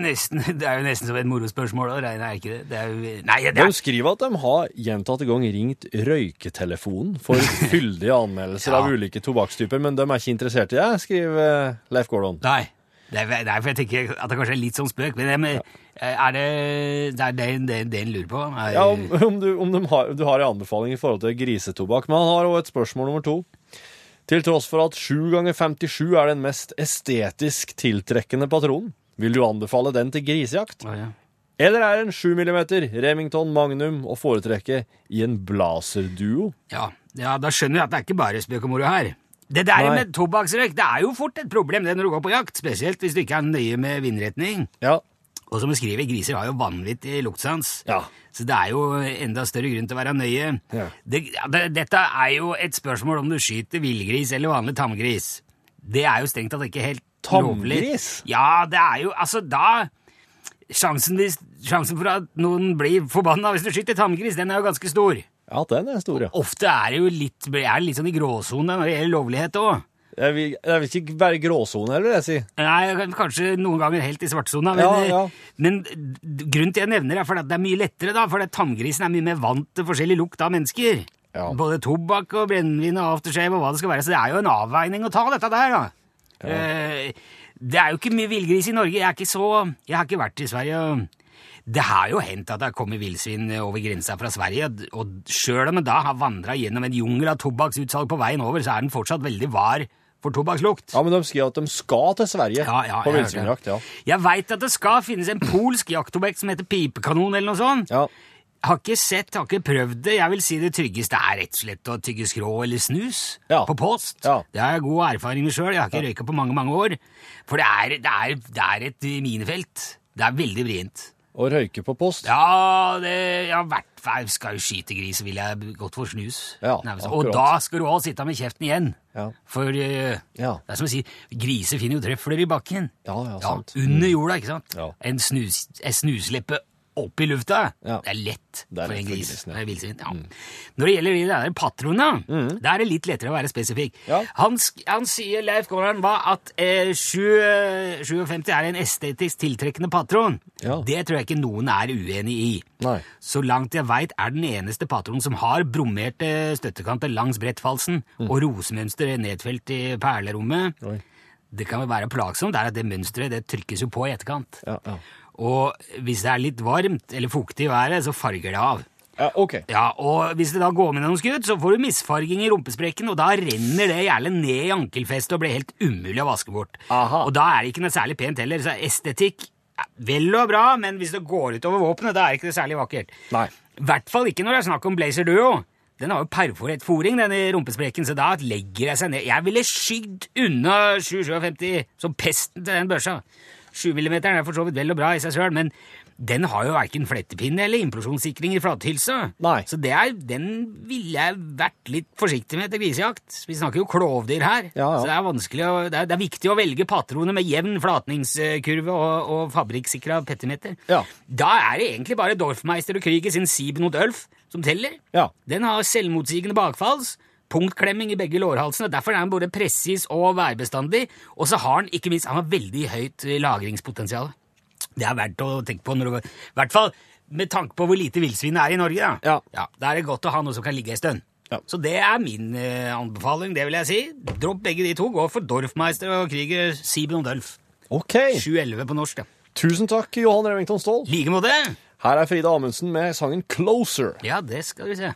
Speaker 2: nesten, det er jo nesten som et morospørsmål, og det er ikke det. det er jo, nei, det
Speaker 3: De
Speaker 2: er,
Speaker 3: skriver at de har gjentatte gang ringt røyketelefonen for fyldige anmeldelser
Speaker 2: Ja.
Speaker 3: av ulike tobakkstyper, men de er ikke interessert i det, skriver eh, Leif Gordon.
Speaker 2: nei. Det er, det er for jeg tenker at det kanskje er litt sånn spøk, men det med, er det det er det, det, det en lurer på? Er,
Speaker 3: Ja, om, om, du, om de har, du har en anbefaling i forhold til grisetobakk. Men han har også et spørsmål nummer to. Til tross for at 7 ganger 57 er den mest estetisk tiltrekkende patronen. Vil du anbefale den til grisejakt?
Speaker 2: Å, ja.
Speaker 3: Eller er en 7 mm Remington Magnum å foretrekke i en blaserduo?
Speaker 2: Ja, ja, da skjønner du at det er ikke bare spøk og moro her. Det der
Speaker 3: Nei.
Speaker 2: med tobakksrøyk det er jo fort et problem det når du går på jakt, spesielt hvis du ikke er nøye med vindretning.
Speaker 3: Ja.
Speaker 2: Og som du skriver, griser har jo vanvittig luktsans,
Speaker 3: Ja.
Speaker 2: så det er jo enda større grunn til å være nøye.
Speaker 3: Ja.
Speaker 2: Det, ja, det, dette er jo et spørsmål om du skyter villgris eller vanlig tamgris. Det er jo strengt tatt ikke helt lovlig.
Speaker 3: Tamgris?
Speaker 2: Ja, det er jo Altså, da Sjansen, hvis, sjansen for at noen blir forbanna hvis du skyter tamgris, den er jo ganske stor.
Speaker 3: Ja, den er stor, ja.
Speaker 2: Ofte er det jo litt, er det litt sånn i gråsone når det gjelder lovlighet òg.
Speaker 3: Jeg vil, jeg vil ikke være i gråsone heller, jeg sier.
Speaker 2: Nei, kanskje noen ganger helt i svartsona, men,
Speaker 3: Ja, ja.
Speaker 2: men d- grunnen til jeg nevner det er fordi at det er mye lettere, da, fordi at tanngrisen er mye mer vant til forskjellig lukt av mennesker.
Speaker 3: Ja.
Speaker 2: Både tobakk og brennevin og aftershave og hva det skal være, så det er jo en avveining å ta dette der, da. Eh, Det er jo ikke mye villgris i Norge, jeg er ikke så Jeg har ikke vært i Sverige. og Det har jo hendt at det har kommet villsvin over grensa fra Sverige, og sjøl om en da har vandra gjennom en jungel av tobakksutsalg på veien over, så er den fortsatt veldig var for tobakkslukt.
Speaker 3: Ja, men de skriver at de skal til Sverige
Speaker 2: Ja, ja,
Speaker 3: på
Speaker 2: jeg
Speaker 3: villsvinjakt. Ja.
Speaker 2: hørte det. Jeg veit at det skal finnes en polsk jaktobjekt som heter pipekanon eller noe sånt.
Speaker 3: ja.
Speaker 2: Har ikke sett, har ikke prøvd det. Jeg vil si det tryggeste er rett og slett å tygge skrå eller snus
Speaker 3: Ja.
Speaker 2: på post.
Speaker 3: Ja.
Speaker 2: Det har jeg god erfaring med sjøl. Jeg har ikke røyka på mange, mange år. For det er, det er, det er et minefelt. Det er veldig vrient.
Speaker 3: Og røyke på post.
Speaker 2: Ja, det, ja, hvert fall skal jo skyte gris, vil jeg godt for snus.
Speaker 3: Ja,
Speaker 2: Nærmest.
Speaker 3: akkurat.
Speaker 2: og da skal du også sitte med kjeften igjen.
Speaker 3: Ja.
Speaker 2: For eh,
Speaker 3: Ja.
Speaker 2: det er som å si, griser finner jo trøfler i bakken.
Speaker 3: Ja, ja, sant.
Speaker 2: under jorda, ikke sant?
Speaker 3: Ja.
Speaker 2: En, snus, en snusleppe opp i lufta,
Speaker 3: Ja.
Speaker 2: det er lett
Speaker 3: Det er
Speaker 2: for
Speaker 3: lett
Speaker 2: en
Speaker 3: for
Speaker 2: gris.
Speaker 3: grisen, ja. Mm.
Speaker 2: for en villsvin, ja. Når det gjelder de der patronene, da er det litt lettere å være spesifikk.
Speaker 3: Ja.
Speaker 2: Han, sk- han sier, Leif Gårdern, hva, at eh, 7, 57 er en estetisk tiltrekkende patron.
Speaker 3: Ja.
Speaker 2: Det tror jeg ikke noen er uenig i.
Speaker 3: Nei.
Speaker 2: Så langt jeg veit, er den eneste patronen som har brummerte støttekanter langs brettfalsen og rosemønster nedfelt i perlerommet.
Speaker 3: Oi.
Speaker 2: Det kan vel være plagsomt, det er at det mønsteret det trykkes jo på i etterkant.
Speaker 3: Ja, ja.
Speaker 2: Og hvis det er litt varmt eller fuktig i været, så farger det av.
Speaker 3: ja, ok.
Speaker 2: Ja, Og hvis det da går med noen skudd, så får du misfarging i rumpesprekken, og da renner det gjerne ned i ankelfestet og blir helt umulig å vaske bort.
Speaker 3: Aha.
Speaker 2: Og da er det ikke noe særlig pent heller, så estetikk er vel og bra, men hvis det går utover våpenet, da er det ikke noe særlig vakkert.
Speaker 3: Nei.
Speaker 2: I hvert fall ikke når det er snakk om Blazer Duo. Den har jo perforert fòring, den i rumpesprekken, så da legger jeg seg ned. Jeg ville skygd unna 757 som pesten til den børsa. 7 mm er for så vidt vel og bra i seg sjøl, men den har jo verken flettepinne eller implosjonssikring i flathylsa.
Speaker 3: Nei.
Speaker 2: Så det er, den ville jeg vært litt forsiktig med til grisejakt. Vi snakker jo klovdyr her,
Speaker 3: Ja, ja.
Speaker 2: så det er, vanskelig å, det, er, det er viktig å velge patroner med jevn flatningskurve og, og fabrikksikra petimeter.
Speaker 3: Ja.
Speaker 2: Da er det egentlig bare Dorfmeister og Krüger sin Sibenot Ulf som teller.
Speaker 3: Ja.
Speaker 2: Den har selvmotsigende bakfalls, punktklemming i begge lårhalsene, derfor er den både presis og værbestandig, og så har den ikke minst han har veldig høyt eh, lagringspotensial. Det er verdt å tenke på, når du, i hvert fall med tanke på hvor lite villsvin det er i Norge. Da.
Speaker 3: Ja.
Speaker 2: da er det godt å ha noe som kan ligge en stund.
Speaker 3: Ja.
Speaker 2: Så det er min eh, anbefaling, det vil jeg si. Dropp begge de to, gå for Dorfmeister og eh, Krüger Sibenot Ulf.
Speaker 3: Ok.
Speaker 2: 711 på norsk, da.
Speaker 3: Tusen takk, Johan Remington Ståhl.
Speaker 2: Like måte!
Speaker 3: Her er Frida Amundsen med sangen 'Closer'.
Speaker 2: Ja, det skal vi se.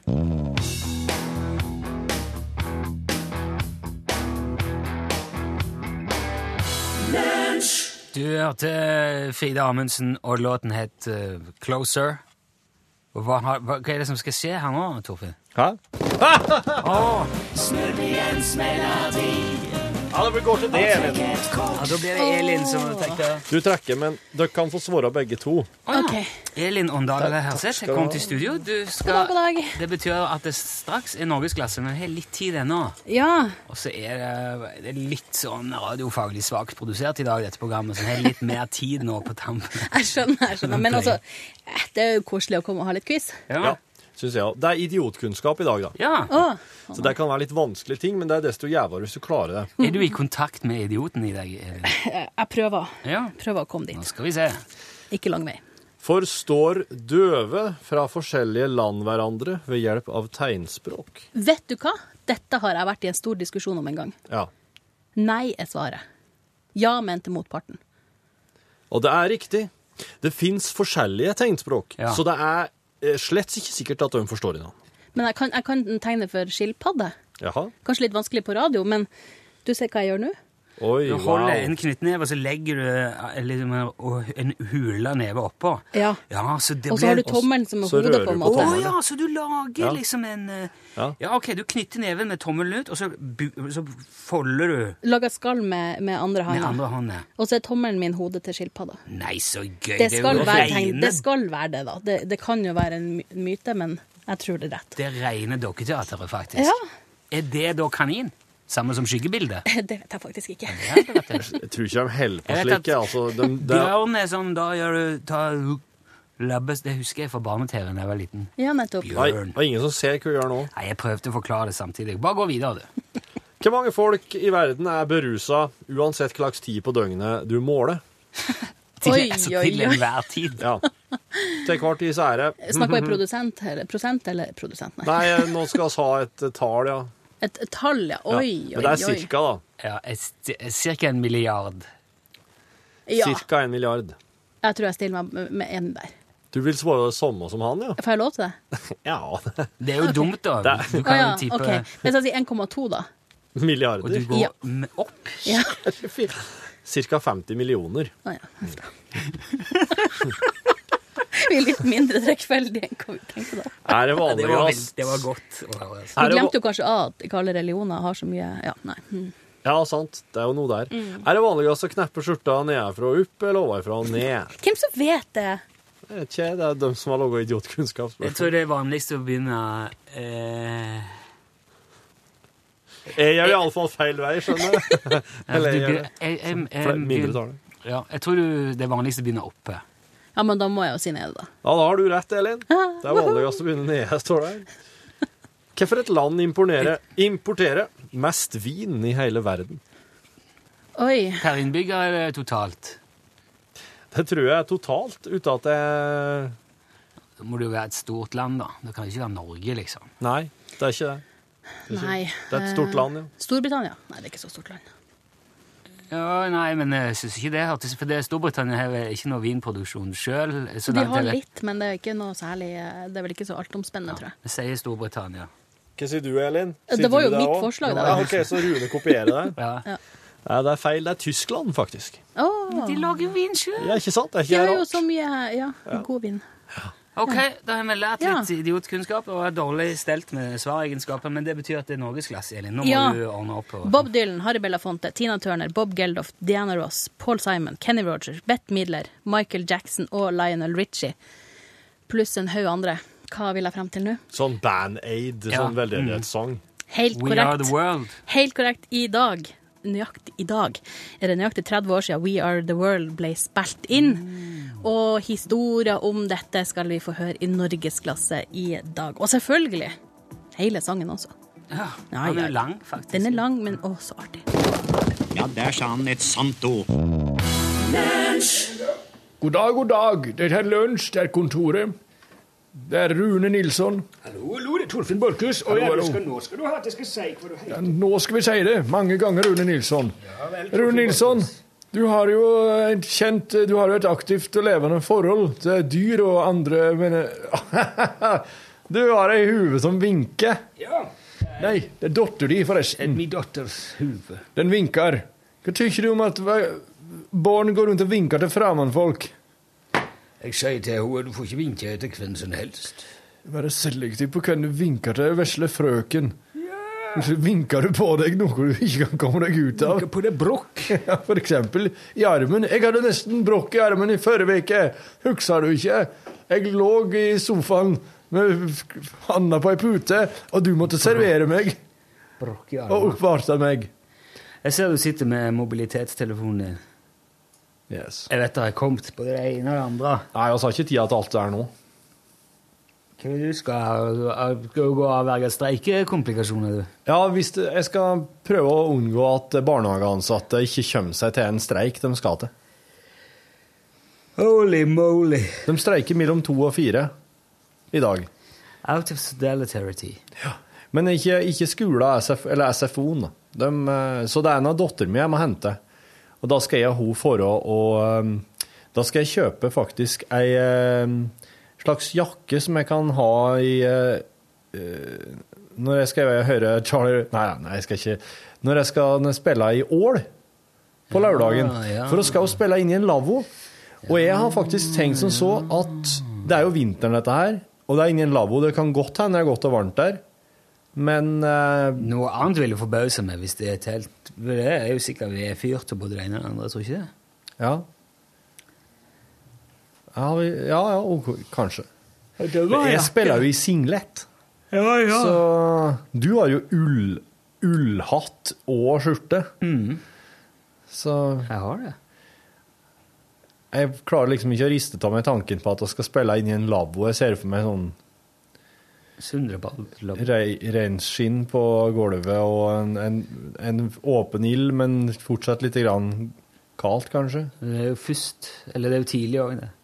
Speaker 2: Du hørte Frida Amundsen, og låten het eh, 'Closer'. Og hva, har- hva, hva er det som skal skje her nå, Torfinn?
Speaker 3: Hæ?
Speaker 2: Ja, da blir det Elin som tenker
Speaker 3: Du trekker, men dere kan få svare begge to.
Speaker 10: Ok.
Speaker 2: Elin Åndale Herseth, jeg kom til studio. Du
Speaker 10: God dag,
Speaker 2: skal,
Speaker 10: god dag.
Speaker 2: det betyr at det straks er norgesklasse, men vi har litt tid ennå.
Speaker 10: Ja.
Speaker 2: Og så er det, det er litt sånn radiofaglig svakt produsert i dag, dette programmet, så jeg har litt mer tid nå på tampen.
Speaker 10: Jeg skjønner, jeg skjønner. Men altså, eh, det er jo koselig å komme og ha litt quiz.
Speaker 2: Ja.
Speaker 3: Ja, synes jeg. også. Det er idiotkunnskap i dag, da.
Speaker 2: ja.
Speaker 10: Å,
Speaker 3: Så det kan være litt vanskelige ting, men det er desto jævligere hvis du klarer det.
Speaker 2: Er du i kontakt med idioten i dag? Elin?
Speaker 10: eh, jeg prøver.
Speaker 2: Ja.
Speaker 10: Prøver å komme
Speaker 2: Nå
Speaker 10: dit.
Speaker 2: skal vi se.
Speaker 10: Ikke lang vei.
Speaker 3: Forstår døve fra forskjellige land hverandre ved hjelp av tegnspråk?
Speaker 10: Vet du hva? Dette har jeg vært i en stor diskusjon om en gang.
Speaker 3: Ja.
Speaker 10: Nei er svaret. Ja mente motparten.
Speaker 3: Og det er riktig. Det fins forskjellige tegnspråk,
Speaker 2: Ja.
Speaker 3: så det er eh, slett ikke sikkert at de forstår hverandre.
Speaker 10: Men jeg kan, jeg kan tegne for skilpadde.
Speaker 3: Jaha.
Speaker 10: Kanskje litt vanskelig på radio, men du ser hva jeg gjør nå?
Speaker 3: Oi,
Speaker 2: Du
Speaker 3: wow.
Speaker 2: holder en knyttneve, og så legger du eh, liksom en- og en hula neve oppå.
Speaker 10: Ja.
Speaker 2: Ja, så det
Speaker 10: Og så har
Speaker 2: blir-
Speaker 10: du tommelen som er
Speaker 3: Så
Speaker 10: hodet,
Speaker 3: rører
Speaker 10: på en
Speaker 3: du på
Speaker 2: Å
Speaker 10: måte.
Speaker 3: tommelen.
Speaker 2: ja, så du lager
Speaker 3: Ja.
Speaker 2: liksom en eh,
Speaker 3: Ja.
Speaker 2: Ja, OK, du knytter neven med tommelen ut, og så, bu så folder du
Speaker 10: Lager skall med, med andre
Speaker 2: med
Speaker 10: hånda.
Speaker 2: andre hånda.
Speaker 10: Og så er tommelen min hodet til skilpadda.
Speaker 2: Nei, så gøy!
Speaker 10: Det
Speaker 2: er jo
Speaker 10: skal være tegn.
Speaker 2: reine-
Speaker 10: Det skal være det, da. Det, det kan jo være en my- myte, men jeg tror det er rett.
Speaker 2: Det rene dokketeateret, faktisk.
Speaker 10: Ja.
Speaker 2: Er det da kanin? Samme som skyggebildet?
Speaker 10: Det vet jeg faktisk ikke.
Speaker 2: Ja, det vet jeg.
Speaker 3: Jeg tror ikke de holder på
Speaker 2: Jeg vet
Speaker 3: slik.
Speaker 2: at-
Speaker 3: Altså, de, det er-
Speaker 2: Bjørn er sånn, da gjør du ta labbes, Det husker jeg fra barne-TV da jeg var liten.
Speaker 10: Ja, nettopp.
Speaker 3: Nei,
Speaker 2: Bjørn.
Speaker 3: det er ingen som ser hva vi gjør nå.
Speaker 2: Nei, jeg prøvde å forklare det samtidig. Bare gå videre, du.
Speaker 3: Hvor mange folk i verden er berusa uansett hva slags tid på døgnet du måler?
Speaker 2: Til,
Speaker 10: Oi,
Speaker 2: altså,
Speaker 10: oi,
Speaker 2: til
Speaker 10: oi.
Speaker 2: enhver tid.
Speaker 3: Ja. Til hver tids ære.
Speaker 10: Snakker vi produsent eller prosent eller produsent? Nei.
Speaker 3: Nei, nå skal vi ha et eh, tall, ja.
Speaker 10: Et et tall, ja.
Speaker 3: ja.
Speaker 10: Oi,
Speaker 3: Men
Speaker 10: oi,
Speaker 3: det er
Speaker 10: oi.
Speaker 3: cirka, da.
Speaker 2: Ja, Ca. en milliard.
Speaker 10: Ja,
Speaker 3: Cirka en milliard.
Speaker 10: jeg tror jeg stiller meg med- med én der.
Speaker 3: Du vil svare det samme som han, ja?
Speaker 10: Får jeg lov til det?
Speaker 3: Ja.
Speaker 2: Det er jo dumt, da.
Speaker 3: Det-
Speaker 2: Du
Speaker 10: Å
Speaker 2: kan
Speaker 10: ja,
Speaker 2: jo type
Speaker 10: OK. Hvis jeg sier 1,2, da?
Speaker 2: Og du
Speaker 3: Milliarder.
Speaker 2: går
Speaker 10: Ja.
Speaker 2: m- opp.
Speaker 10: Ja.
Speaker 3: Cirka 50 millioner.
Speaker 10: Å ja. Huff da. Vi er litt mindre trekkfeldige enn hva vi tenkte da.
Speaker 3: Er det
Speaker 2: Det
Speaker 3: vanlig,
Speaker 2: var,
Speaker 3: ass?
Speaker 2: veld- det var godt å høre. altså.
Speaker 10: Vi
Speaker 3: Er det
Speaker 10: glemte jo kanskje av at ikke alle religioner har så mye Ja, nei. Mm.
Speaker 3: Ja, sant. Det er jo noe der. Er det vanligst å kneppe skjorta nedenfra og opp, eller ovenfra og ned?
Speaker 10: Hvem som vet det?
Speaker 3: Jeg vet ikke, det er de som har laga idiotkunnskap.
Speaker 2: Jeg tror det er vanligst å begynne eh,
Speaker 3: Eh, Jeg gjør iallfall feil vei, skjønner du. Eller
Speaker 2: du
Speaker 3: jeg gjør
Speaker 2: begynner- jeg- jeg- jeg-
Speaker 10: eh,
Speaker 3: det. Mindretallet.
Speaker 2: Ja, jeg tror du, det er vanligst å begynne oppe.
Speaker 10: Ja, men da må jeg jo si nede, da.
Speaker 3: Ja, da har du rett, Elin. Det er vanligst å begynne nede, står det her. Hvorfor et land importerer, importerer mest vin i hele verden?
Speaker 10: Oi.
Speaker 2: Per innbygger er det totalt.
Speaker 3: Det tror jeg er totalt, uten at jeg
Speaker 2: Da må det jo være et stort land, da. Det kan jo ikke være Norge, liksom.
Speaker 3: Nei, det er ikke det.
Speaker 10: Nei. eh,
Speaker 3: Det er et stort land, ja.
Speaker 10: Storbritannia? Nei, det er ikke så stort land.
Speaker 2: Ja, nei, men jeg syns ikke det hørtes For det, Storbritannia har vel ikke noe vinproduksjon sjøl. Så
Speaker 10: De
Speaker 2: langt
Speaker 10: har
Speaker 2: jeg vet.
Speaker 10: litt, men det er ikke noe særlig eh, Det er vel ikke så altomspennende, tror jeg.
Speaker 2: Det sier Storbritannia.
Speaker 3: Hva sier du, Elin?
Speaker 10: Det
Speaker 3: Sier
Speaker 10: var
Speaker 3: du
Speaker 10: jo mitt
Speaker 3: også?
Speaker 10: forslag, da.
Speaker 3: Ja, ok, Så Rune kopierer det?
Speaker 2: Ja.
Speaker 3: Nei, det er feil. Det er Tyskland, faktisk.
Speaker 10: Åh,
Speaker 2: De lager jo vin sjøl!
Speaker 3: Ja, ikke sant? Det er
Speaker 10: de
Speaker 3: ikke
Speaker 10: har jo
Speaker 3: rart.
Speaker 10: så mye ja, god vin.
Speaker 2: OK, da har vi lært
Speaker 10: Ja.
Speaker 2: litt idiotkunnskap og er dårlig stelt med svaregenskaper, men det betyr at det er norgesklasse, Elin. Nå må
Speaker 10: Ja.
Speaker 2: du ordne opp. Og...
Speaker 10: Bob Dylan, Harry Belafonte, Tina Turner, Bob Geldof, Diana Ross, Paul Simon, Kenny Rogers, Bette Midler, Michael Jackson og Lionel Richie. Pluss en haug andre. Hva vil jeg frem til nå?
Speaker 3: Sånn Band-Aid,
Speaker 2: Ja.
Speaker 3: sånn veldedighetssang.
Speaker 10: Helt
Speaker 2: We are the
Speaker 10: korrekt.
Speaker 2: world.
Speaker 10: Helt korrekt i dag. Nøyaktig i dag er det nøyaktig 30 år siden We Are The World ble spilt inn. Og historier om dette skal vi få høre i norgesklasse i dag. Og selvfølgelig hele sangen også.
Speaker 2: Ja,
Speaker 10: Nei,
Speaker 2: Den
Speaker 10: ja,
Speaker 2: er lang, faktisk.
Speaker 10: Den er lang, men å, så artig.
Speaker 11: Ja, der sa han et sant ord.
Speaker 1: God dag, god dag. Dette er Lunsj. Det er kontoret. Det er Rune Nilsson.
Speaker 11: Hallo, hallo, det er Torfinn
Speaker 1: Borkhus, og
Speaker 11: Borgen. Nå skal du ha at jeg skal si hva du heter.
Speaker 1: Nå skal vi si det mange ganger, Rune Nilsson.
Speaker 11: vel,
Speaker 1: Rune Nilsson, du har jo et kjent Du har jo et aktivt og levende forhold til dyr og andre men, Du har ei hue som vinker.
Speaker 11: Ja,
Speaker 1: Nei, det er datter di, forresten.
Speaker 11: min datters huvud.
Speaker 1: Den vinkar. Hva tykker du om at va- barn går rundt og vinker til fremmedfolk?
Speaker 11: Jeg sier til henne du får ikke vinke etter hvem som helst.
Speaker 1: Være selektiv på hvem du vinker til, vesle frøken. Så vinker du på deg noe du ikke kan komme deg ut av.
Speaker 11: Ikke på det brokk.
Speaker 1: Ja, for eksempel i armen. Jeg hadde nesten brokk i armen i forrige uke. Husker du ikke? Jeg lå i sofaen med handa på ei pute, og du måtte servere meg
Speaker 11: Brokk i
Speaker 1: og
Speaker 11: armen.
Speaker 1: oppvarte meg.
Speaker 2: Jeg ser du sitter med mobilitetstelefonen din.
Speaker 1: Yes.
Speaker 2: Jeg vet det har kommet både det ene og det andre.
Speaker 3: Nei, vi har ikke tida til alt det er nå.
Speaker 2: Hva er det du skal, skal du gå og avverge streikekomplikasjoner, du?
Speaker 3: Ja, hvis det, Jeg skal prøve å unngå at barnehageansatte ikke kommer seg til en streik de skal til.
Speaker 2: Holy moly.
Speaker 3: De streiker mellom to og fire i dag.
Speaker 2: Out of solidarity.
Speaker 3: Men ikke, ikke skolen SF, eller SFO-en. da. De, eh, så det er en av datteren min jeg må hente. Og da skal jeg og hun for å og eh, Da skal jeg kjøpe faktisk ei eh, slags jakke som jeg kan ha i eh, eh,
Speaker 1: Når jeg skal høre Charlie Nei, nei, jeg skal ikke Når jeg skal spille i Ål på lørdagen
Speaker 3: ja.
Speaker 1: For hun skal jo spille inn i en lavvo. Og jeg har faktisk tenkt som så at det er jo vinteren, dette her. Og det er inni en lavvo. Det kan godt hende det er godt og varmt der. Men eh,
Speaker 2: Noe annet vil jo forbause meg hvis det er telt. For Det er jo sikkert vi er fyrt og både det ene og det andre, tror du ikke det?
Speaker 1: ja. Ja, vi, ja, ja ok, kanskje. Jeg spiller jo i singlet.
Speaker 2: Ja,
Speaker 1: Så du har jo ull, ullhatt og skjorte. Så
Speaker 2: Jeg har det.
Speaker 1: jeg klarer liksom ikke å riste av meg tanken på at jeg skal spille inn i en lavvo. Jeg ser for meg sånn
Speaker 2: Sundreball.
Speaker 1: rei- reinskinn på gulvet og en, en, en åpen ild, men fortsatt litt grann kaldt, kanskje.
Speaker 2: Det er jo først Eller det er jo tidlig òg, det.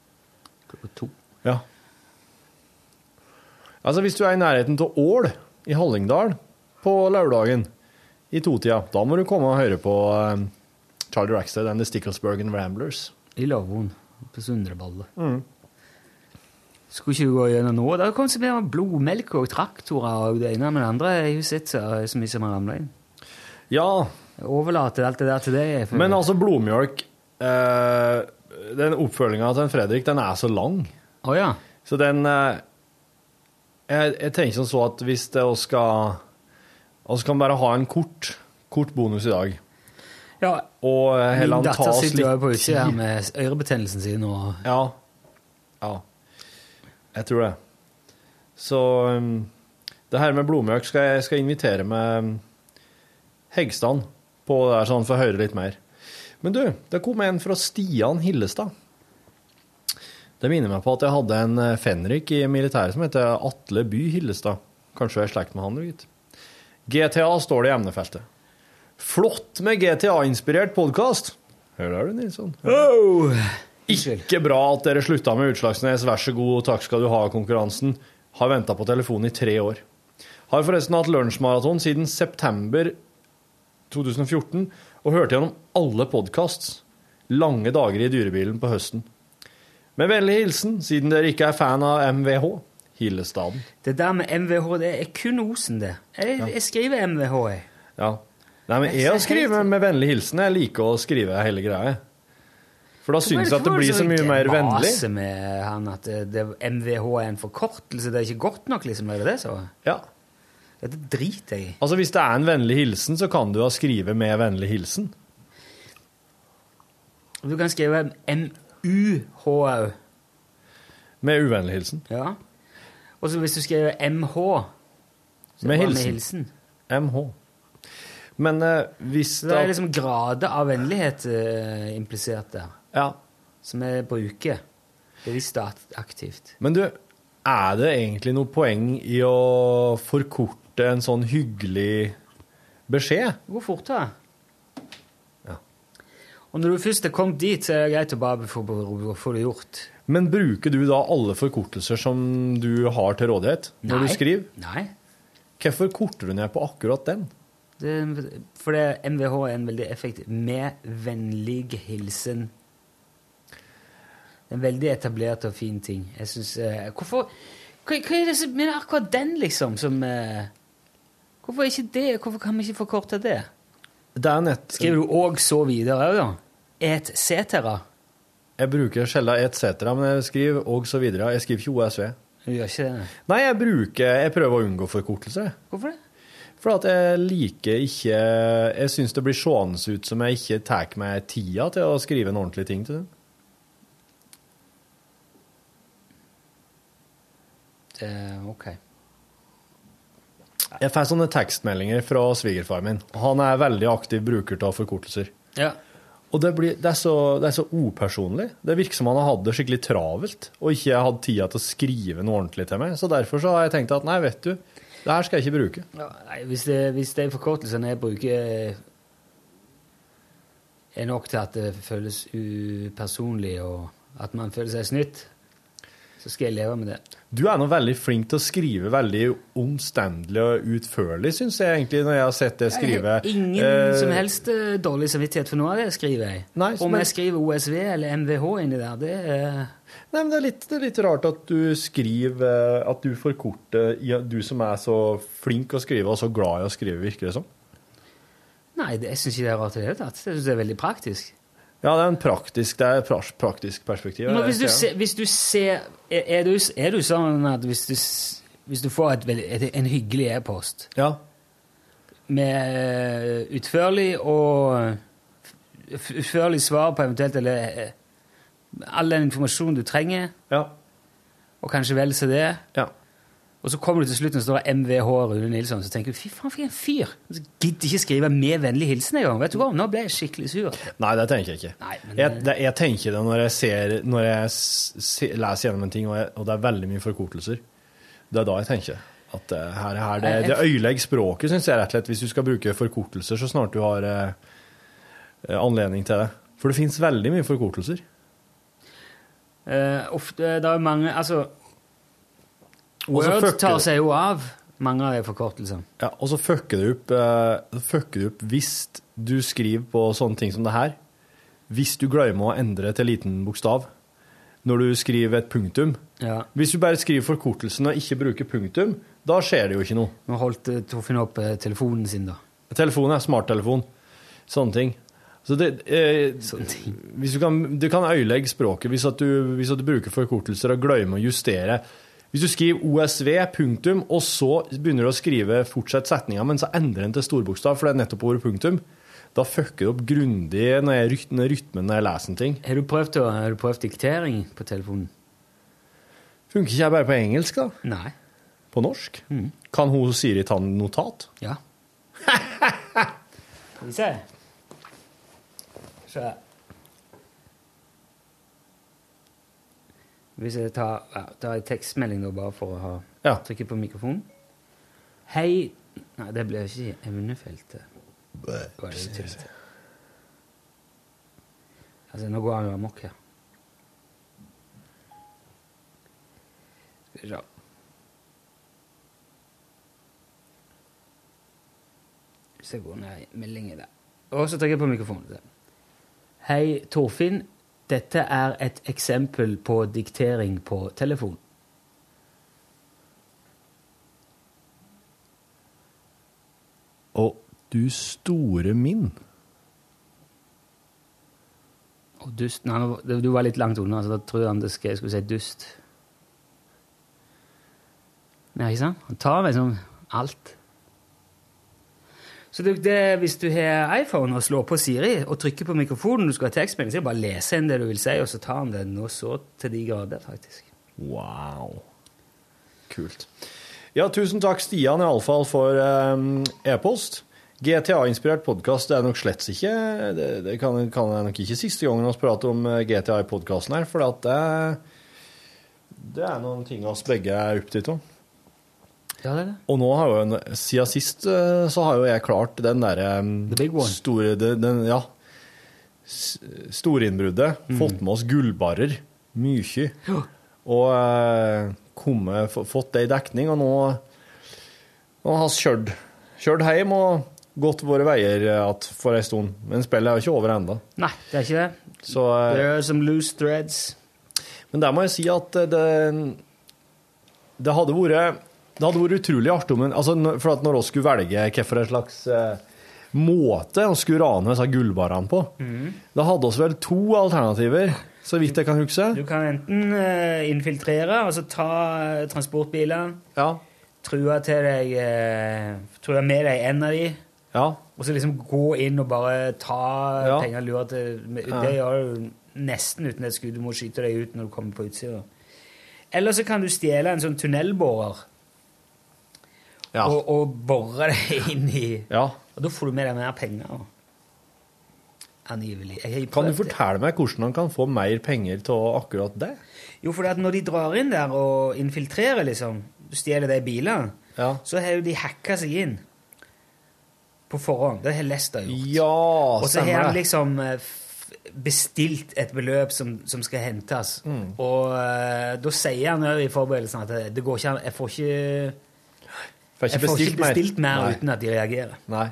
Speaker 2: Klokka to.
Speaker 1: Ja. Altså, hvis du er i nærheten av Ål i Hallingdal på lørdagen i totida, da må du komme og høre på eh, Charlie Rackstead and the Sticklesbergen Ramblers.
Speaker 2: I lavvoen på Sundreballet.
Speaker 1: Mm.
Speaker 2: Skulle ikke du gå gjennom noe? Der kom så mye blodmelk og traktorer og det ene med det andre. Jeg har jo sett så, så mye som har ramla inn.
Speaker 1: Ja,
Speaker 2: Jeg overlater alt det der til deg. for-
Speaker 1: men altså, blodmjølk eh, Den oppfølginga til en Fredrik, den er så lang.
Speaker 2: Å ja.
Speaker 1: Så den eh, Jeg, jeg tenker som så at hvis det oss skal Vi kan bare ha en kort, kort bonus i dag.
Speaker 2: ja.
Speaker 1: Og eh,
Speaker 2: Min
Speaker 1: heller han ta
Speaker 2: datter
Speaker 1: oss
Speaker 2: sitter jo på
Speaker 1: litt
Speaker 2: utsida her med ørebetennelsen sin og
Speaker 1: Ja. Ja. Jeg tror det. Så um, det her med blodmjølk skal jeg skal invitere med um, Hegstand på det her, så han får høre litt mer. Men du, det kom en fra Stian Hillestad. Det minner meg på at jeg hadde en eh, fenrik i militæret som heter Atle By Hillestad. Kanskje jeg er i slekt med han, du, gitt. GTA står det i emnefeltet. Flott med GTA-inspirert podkast! Hør der, du, Nilsson. Ikke bra at dere slutta med Utslagsnes, vær så god, takk skal du ha-konkurransen. Har venta på telefonen i tre år. Har forresten hatt lunsjmaraton siden september 2014 og hørte gjennom alle podkasts. Lange dager i dyrebilen på høsten. Med vennlig hilsen, siden dere ikke er fan av MVH, Hillestaden.
Speaker 2: Det der med MVH, det er kun osen, det. Jeg, jeg skriver MVH, jeg.
Speaker 1: Ja. Nei, men jeg skriver med vennlig hilsen. Jeg liker å skrive hele greia. For da syns jeg at det
Speaker 2: Hvorfor er
Speaker 1: blir så mye mer vennlig.
Speaker 2: Maset sånn med han at det, det, MVH er en forkortelse, det er ikke godt nok, liksom. Er det det, så?
Speaker 1: Ja.
Speaker 2: Ja, det driter jeg i.
Speaker 1: Altså Hvis det er en vennlig hilsen, så kan du ha skrive med vennlig hilsen.
Speaker 2: Du kan skrive MUH òg.
Speaker 1: Med uvennlig hilsen.
Speaker 2: Ja. Og så hvis du skriver MH så er
Speaker 1: Med
Speaker 2: det bare
Speaker 1: hilsen.
Speaker 2: med hilsen.
Speaker 1: MH. Men eh, hvis
Speaker 2: Så det er liksom grader av vennlighet eh, implisert der,
Speaker 1: Ja.
Speaker 2: som vi bruker bevisst og akt- aktivt.
Speaker 1: Men du, er det egentlig noe poeng i å forkorte en sånn hyggelig beskjed?
Speaker 2: Det går fortere. Og når du først er kommet dit, så er det greit å bare få, få det gjort.
Speaker 1: Men bruker du da alle forkortelser som du har til rådighet når du skriver?
Speaker 2: Nei.
Speaker 1: Hvorfor korter du ned på akkurat den?
Speaker 2: Det, for det, MVH er en veldig effektiv Med vennlig hilsen. Det er En veldig etablert og fin ting. Jeg synes, eh, Hvorfor hva, hva er det som men akkurat den, liksom, som eh, Hvorfor er ikke det Hvorfor kan vi ikke forkorte det?
Speaker 1: Det er nett...
Speaker 2: Skriver du 'og så videre' òg, da? Et cetera?
Speaker 1: Jeg bruker skjella et cetera, men jeg skriver og så videre. Jeg skriver ikke OSV.
Speaker 2: Du gjør ikke det?
Speaker 1: Nei, jeg bruker Jeg prøver å unngå forkortelse.
Speaker 2: Hvorfor det?
Speaker 1: For at jeg liker ikke Jeg syns det blir seende ut som jeg ikke tar meg tida til å skrive en ordentlig ting til dem.
Speaker 2: Eh, ok.
Speaker 1: Jeg får sånne tekstmeldinger fra svigerfar min. og Han er veldig aktiv bruker av forkortelser.
Speaker 2: Ja.
Speaker 1: Og det, blir, det, er så, det er så upersonlig. Det virker som han har hatt det skikkelig travelt og ikke har hatt tida til å skrive noe ordentlig til meg. Så derfor så har jeg tenkt at nei, vet du, det her skal jeg ikke bruke.
Speaker 2: Ja, Nei, hvis, det, hvis de forkortelsene jeg bruker, eh, er nok til at det føles upersonlig, og at man føler seg snytt, så skal jeg leve med det.
Speaker 1: Du er nå veldig flink til å skrive veldig omstendelig og utførlig, syns jeg egentlig, når jeg har sett det skrive.
Speaker 2: Jeg har ingen
Speaker 1: Eh,
Speaker 2: som helst eh, dårlig samvittighet for noe av det jeg skriver. Jeg.
Speaker 1: Nei,
Speaker 2: Om
Speaker 1: men-
Speaker 2: jeg skriver OSV eller MVH inni der, det eh, er
Speaker 1: Nei, men det er, litt, det er litt rart at du skriver eh, At du forkorter ja, Du som er så flink å skrive og så glad i å skrive, virker det som.
Speaker 2: Nei, det, jeg syns ikke det er rart i det hele tatt. Jeg synes det er veldig praktisk.
Speaker 1: Ja, det er en praktisk, det er et pras- praktisk perspektiv.
Speaker 2: Men
Speaker 1: det
Speaker 2: hvis du,
Speaker 1: ser jeg.
Speaker 2: ser, hvis du ser Er, er du, er du sånn at hvis du, s- hvis du får et, veldig- et, en hyggelig e-post
Speaker 1: Ja.
Speaker 2: med eh, utførlig og eh, f- utførlig svar på eventuelt eller eh, all den informasjonen du trenger,
Speaker 1: Ja.
Speaker 2: og kanskje vel så det
Speaker 1: Ja.
Speaker 2: Og så kommer du til slutten og står det MVH Rune Nilsson, så tenker du fy faen, for en fyr! Så gidder ikke skrive 'med vennlig hilsen' engang. Vet du hva, nå ble jeg skikkelig sur.
Speaker 1: Nei, det tenker jeg ikke.
Speaker 2: Nei, men-
Speaker 1: jeg, det, jeg tenker det når jeg, ser, når jeg s- se, leser gjennom en ting, og, jeg, og det er veldig mye forkortelser. Det er da jeg tenker at eh, her, her, det, det øyelegger språket, syns jeg rett og slett, hvis du skal bruke forkortelser så snart du har eh, eh, anledning til det. For det fins veldig mye forkortelser.
Speaker 2: Eh, ofte, det er jo mange Altså,
Speaker 1: Og så
Speaker 2: Word
Speaker 1: fucker
Speaker 2: tar
Speaker 1: det.
Speaker 2: seg jo av mange av de forkortelsene.
Speaker 1: Ja, og så fucker du opp, eh, fucker du opp hvis du skriver på sånne ting som det her. Hvis du glemmer å endre til liten bokstav når du skriver et punktum.
Speaker 2: Ja.
Speaker 1: Hvis du bare skriver forkortelsen og ikke bruker punktum, da skjer det jo ikke noe.
Speaker 2: Nå holdt eh, Torfinn opp eh, telefonen sin, da.
Speaker 1: Telefonen er smarttelefon. Sånne ting. Så det, eh, Hvis du kan, du kan øyelegge språket hvis, at du, hvis at du bruker forkortelser og glemmer å justere. Hvis du skriver OSV, punktum, og så begynner du å skrive fortsett setninga, men så endrer den til storbokstav, for det er nettopp ordet punktum, da fucker du opp grundig når jeg ryt- når rytmen når jeg leser en ting.
Speaker 2: Har du prøvd, å, har du prøvd diktering på telefonen?
Speaker 1: Funker ikke jeg bare på engelsk, da?
Speaker 2: Nei.
Speaker 1: På norsk? Kan hun Siri ta notat?
Speaker 2: Ja. Skal vi se. Så. Hvis jeg tar, ja, tar en tekstmelding nå, bare for å ha
Speaker 1: Ja.
Speaker 2: trykke på mikrofonen. Hei Nei, det ble ikke i evnefeltet. Var det jo tyst. Altså, nå går han jo amok her. Skal vi se. Hvis jeg går ned i meldinger der. Og så trykker jeg på mikrofonen. Der. Hei, Torfinn. Dette er et eksempel på diktering på telefon.
Speaker 1: Og du store min.
Speaker 2: Og dust Nei, nå var- du var litt langt unna, så da tror han det skal, jeg skulle si dust. Nei, ikke sant? Han tar liksom alt. Så det, det, hvis du har iPhone og slår på Siri og trykker på mikrofonen, du skal ha tekstmelding, så er det bare å lese inn det du vil si, og så tar han det nå så til de grader, faktisk.
Speaker 1: Wow. Kult. Ja, tusen takk, Stian, iallfall, for em, e-post. GTA-inspirert podkast er nok slett ikke Det, det kan, kan jeg nok ikke siste gangen vi prater om eh, GTA i podkasten her, for at det, det er noen ting oss begge er opptatt av.
Speaker 2: Ja, det er det.
Speaker 1: Og nå har jo en, siden sist eh, så har jo jeg klart den derre em,
Speaker 2: The big one.
Speaker 1: store den, den, Ja. s- Storinnbruddet.
Speaker 2: Mm.
Speaker 1: Fått med oss gullbarrer. Mye. Og eh, komme, få- fått det i dekning, og nå, nå har vi kjørt, kjørt hjem og gått våre veier eh, at for en stund. Men spillet er jo ikke over ennå.
Speaker 2: Nei, det er ikke det.
Speaker 1: Så eh,
Speaker 2: There are some loose threads.
Speaker 1: Men der må jeg si at det, det hadde vært det hadde vært utrolig artig om en altså, når- For at når vi skulle velge hvilken slags eh, måte vi skulle rane disse gullbarene på, da hadde vi vel to alternativer, så vidt jeg kan huske.
Speaker 2: Du kan enten eh, infiltrere, altså ta eh, transportbiler,
Speaker 1: Ja.
Speaker 2: true til deg eh, True med deg en av de,
Speaker 1: ja.
Speaker 2: og så liksom gå inn og bare ta
Speaker 1: Ja.
Speaker 2: penger og lure til med,
Speaker 1: Ja.
Speaker 2: Det gjør du nesten uten et skudd. Du må skyte deg ut når du kommer på utsida. Eller så kan du stjele en sånn tunnelborer
Speaker 1: Ja.
Speaker 2: og, og bore deg inn i
Speaker 1: ja.
Speaker 2: Og da får du med deg mer penger. og- Angivelig. Jeg har
Speaker 1: Kan
Speaker 2: prøvd
Speaker 1: du
Speaker 2: det.
Speaker 1: fortelle meg hvordan han kan få mer penger av akkurat det?
Speaker 2: Jo, for at når de drar inn der og infiltrerer, liksom, stjeler de bilene,
Speaker 1: Ja.
Speaker 2: så har jo de hacka seg inn på forhånd. Det har Lester gjort.
Speaker 1: Ja,
Speaker 2: og så har
Speaker 1: stemmer
Speaker 2: han
Speaker 1: det.
Speaker 2: liksom eh, bestilt et beløp som, som skal hentes.
Speaker 1: Mm.
Speaker 2: Og eh, da sier han jo i forberedelsen at eh, det- det går ikke an Jeg får ikke,
Speaker 1: Får ikke
Speaker 2: jeg får
Speaker 1: bestilt
Speaker 2: ikke
Speaker 1: mer.
Speaker 2: bestilt mer
Speaker 1: Nei.
Speaker 2: uten at de reagerer.
Speaker 1: Nei.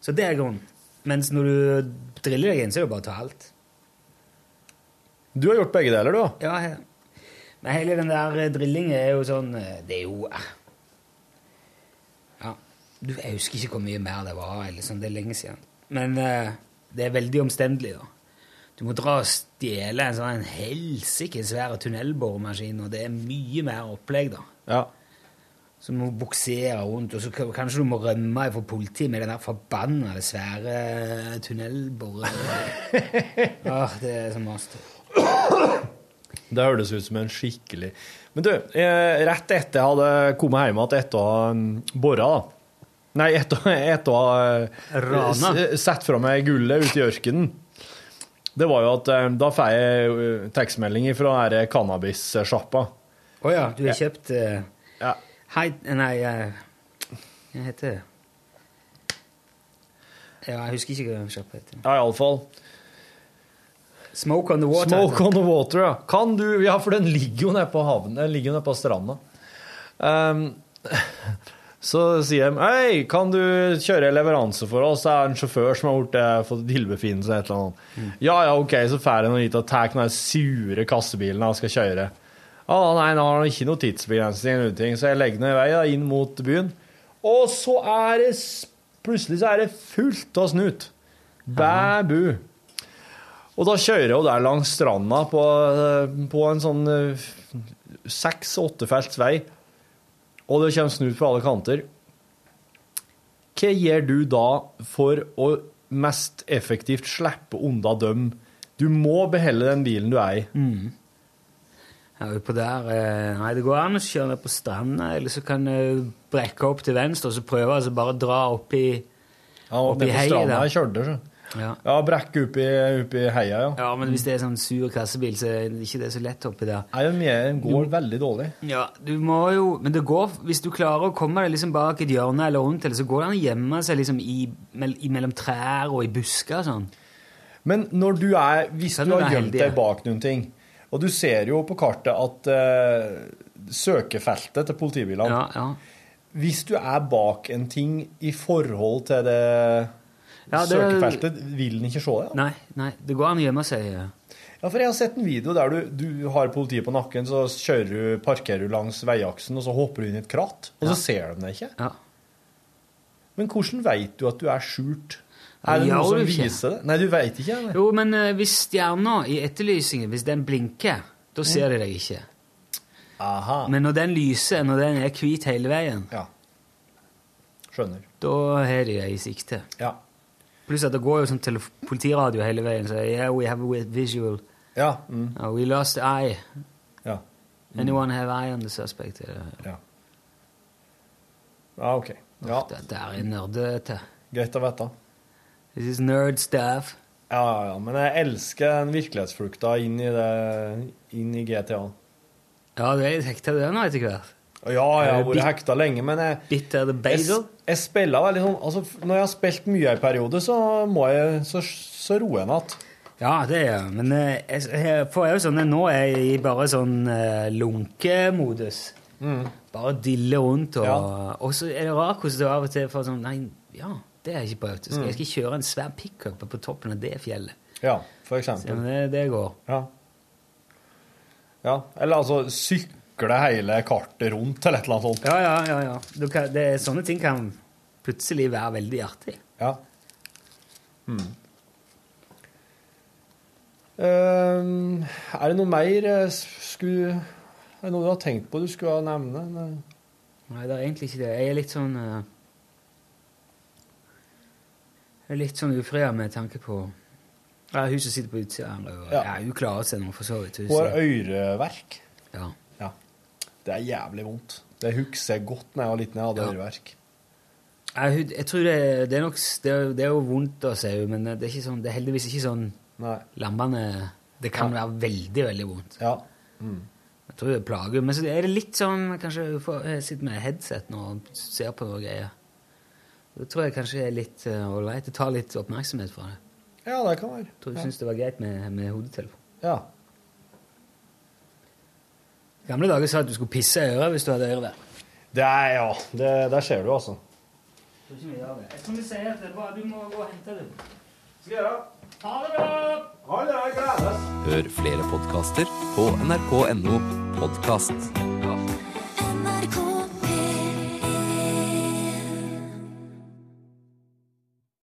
Speaker 2: Så det er grunnen. Mens når du driller deg inn, så er det bare å ta alt.
Speaker 1: Du har gjort begge deler, du. da.
Speaker 2: Ja, he- men hele den der eh, drillingen er jo sånn eh, Det er jo eh. Ja. Du, jeg husker ikke hvor mye mer det var. Eller sånn, det er lenge siden. Men eh, det er veldig omstendelig, da. Du må dra og stjele en sånn en helsike svær tunnelboremaskin, og det er mye mer opplegg, da.
Speaker 1: Ja.
Speaker 2: Så du må buksere rundt, og så k- kanskje du må rømme fra politiet med den der forbanna svære tunnelboreren. Åh, det er så master.
Speaker 1: Det høres ut som en skikkelig Men du, eh, rett etter jeg hadde kommet hjem igjen etter å ha mm, borra, da Nei, etter, etter å ha eh,
Speaker 2: Rana.
Speaker 1: s- Sett fra meg gullet ute i ørkenen. Det var jo at eh, da får jeg eh, tekstmelding fra denne cannabissjappa.
Speaker 2: Å ja, du har kjøpt eh,
Speaker 1: Ja.
Speaker 2: Hei Nei, eh, hva heter det? Ja, jeg husker ikke hva sjappa heter.
Speaker 1: Ja, iallfall.
Speaker 2: Smoke on the water.
Speaker 1: Smoke on the water, ja. Kan du Ja, for den ligger jo nede på havnen. Den ligger jo nede på stranda. Ehm, så sier de Hei, kan du kjøre leveranse for oss? Det er en sjåfør som har gjort det, fått tilbefinnelse eller et eller annet. Ja ja, OK, så drar han hit og tar den der sure kassebilen han skal kjøre. Å nei, han har han ikke noe tidsbegrensning, eller noen ting, så jeg legger den i vei da, inn mot byen. Og så er det s- Plutselig så er det fullt av snut. Bæ bu. Og da kjører jeg jo der langs stranda på, på en sånn seks-åttefelts vei, og det kommer snut på alle kanter. Hva gjør du da for å mest effektivt slippe unna dem? Du må beholde den bilen du er i.
Speaker 2: Ja, utpå der eh, Nei, det går an å kjøre ned på stranda, eller så kan du brekke opp til venstre og så prøve altså bare dra oppi
Speaker 1: Ja, og
Speaker 2: Oppi
Speaker 1: nede på
Speaker 2: heia
Speaker 1: stranda
Speaker 2: der.
Speaker 1: jeg kjørte, så.
Speaker 2: ja.
Speaker 1: Ja, brekke oppi, oppi heia, ja.
Speaker 2: ja, men hvis det er sånn sur kassebil, så er det ikke det så lett oppi der.
Speaker 1: Nei, den er- den går veldig dårlig.
Speaker 2: Ja, du må jo Men det går Hvis du klarer å komme deg liksom bak et hjørne eller rundt, eller så går det an å gjemme seg liksom i, mell- i mellom trær og i busker og sånn.
Speaker 1: Men når du er, hvis
Speaker 2: Selv om
Speaker 1: du
Speaker 2: du
Speaker 1: har
Speaker 2: er
Speaker 1: gjemt
Speaker 2: heldig,
Speaker 1: deg
Speaker 2: ja.
Speaker 1: bak noen ting, og du ser jo på kartet at eh, søkefeltet til politibilene,
Speaker 2: Ja, ja.
Speaker 1: hvis du er bak en ting i forhold til det,
Speaker 2: Ja, det-
Speaker 1: søkefeltet, vil den ikke se det? Ja.
Speaker 2: Nei, nei, det går an å gjemme seg. ja.
Speaker 1: ja, for jeg har sett en video der du, du har politiet på nakken, så kjører du, parkerer du langs veiaksen, og så hopper du inn i et kratt, og så ser de deg ikke.
Speaker 2: Ja.
Speaker 1: Men hvordan vet du at du er skjult?
Speaker 2: Ja,
Speaker 1: Er det
Speaker 2: gjør
Speaker 1: noe som
Speaker 2: du ikke.
Speaker 1: viser det? Nei, du vet ikke. Eller?
Speaker 2: Jo, men eh, hvis stjerna i etterlysningen hvis den blinker, da ser de deg ikke.
Speaker 1: Aha.
Speaker 2: Men når den lyser, når den er hvit hele veien,
Speaker 1: Ja. Skjønner.
Speaker 2: da har de deg i sikte.
Speaker 1: Ja.
Speaker 2: Pluss at det går jo sånn telef- politiradio hele veien. Så yeah, we have a visual.
Speaker 1: Ja. Mm.
Speaker 2: Uh, we lost eye.
Speaker 1: ja.
Speaker 2: Anyone have eye on the suspect? Eller,
Speaker 1: Ja. Ja, OK. Ja,
Speaker 2: Dette er nerdete.
Speaker 1: greit å vite.
Speaker 2: This is nerd stuff.
Speaker 1: Ja, ja, ja, men jeg elsker den virkelighetsflukta inn i, det, inn i GTA.
Speaker 2: Ja, du er litt hekta i det nå etter hvert.
Speaker 1: Og Ja, jeg har
Speaker 2: Er det
Speaker 1: vært
Speaker 2: bit-
Speaker 1: hekta lenge, men jeg,
Speaker 2: Bitter the
Speaker 1: jeg,
Speaker 2: basil.
Speaker 1: jeg spiller veldig sånn altså, f- Når jeg har spilt mye en periode, så, må jeg, så, så roer jeg meg igjen.
Speaker 2: Ja, det er jeg. Men eh, jeg, jeg får jo sånn Nå er jeg i bare sånn eh, lunkemodus. Bare dille rundt. Og,
Speaker 1: Ja.
Speaker 2: og så er det rart hvordan du av og til får sånn Nei, ja, det har jeg ikke prøvd. Så skal jeg skal kjøre en svær pickup på toppen av det fjellet.
Speaker 1: Ja, for
Speaker 2: Så,
Speaker 1: eksempel.
Speaker 2: men det, det går.
Speaker 1: Ja. ja. Eller altså sykle hele kartet rundt eller et eller annet sånt.
Speaker 2: Ja, ja, ja. ja. Du kan, det, sånne ting kan plutselig være veldig artig.
Speaker 1: Ja. Hmm. Ehm, er det noe mer eh, s- skulle Er det noe du har tenkt på du skulle ha nevne? Nei.
Speaker 2: Nei, det er egentlig ikke det. Jeg er litt sånn eh, Jeg er litt sånn ufria med tanke på ja, Hun som sitter på utsida her, og-
Speaker 1: Ja.
Speaker 2: ja. hun klarer seg nå, for så vidt. Hun
Speaker 1: Hun har
Speaker 2: ser-
Speaker 1: øreverk.
Speaker 2: ja.
Speaker 1: Ja. Det er jævlig vondt. Det husker jeg godt når jeg var liten. Jeg hadde
Speaker 2: Ja.
Speaker 1: øreverk.
Speaker 2: Nei, hun, jeg tror det, det er nok s- det, er- det er jo vondt å si, men det er, ikke sånn, det er heldigvis ikke sånn
Speaker 1: Nei.
Speaker 2: lammende Det kan være veldig, veldig vondt.
Speaker 1: Ja.
Speaker 2: Jeg tror det plager Men så er det litt sånn Kanskje hun får- jeg sitter med headset nå og ser på noe greier. Da tror jeg kanskje jeg er litt eh, ålreit. Det tar litt oppmerksomhet fra det.
Speaker 1: Ja, det kan være.
Speaker 2: Tror du syns det var greit med, med hodetelefon?
Speaker 1: Ja.
Speaker 2: I gamle dager sa at du skulle pisse i øret hvis du hadde øreverk.
Speaker 1: Det er, ja, det, der ser du, altså.
Speaker 2: Jeg tror vi sier at det er bra. Du må gå og hente det. Skal gjøre. Ha det bra! Ha det, jeg gleder
Speaker 12: Hør flere podkaster på nrk.no podkast.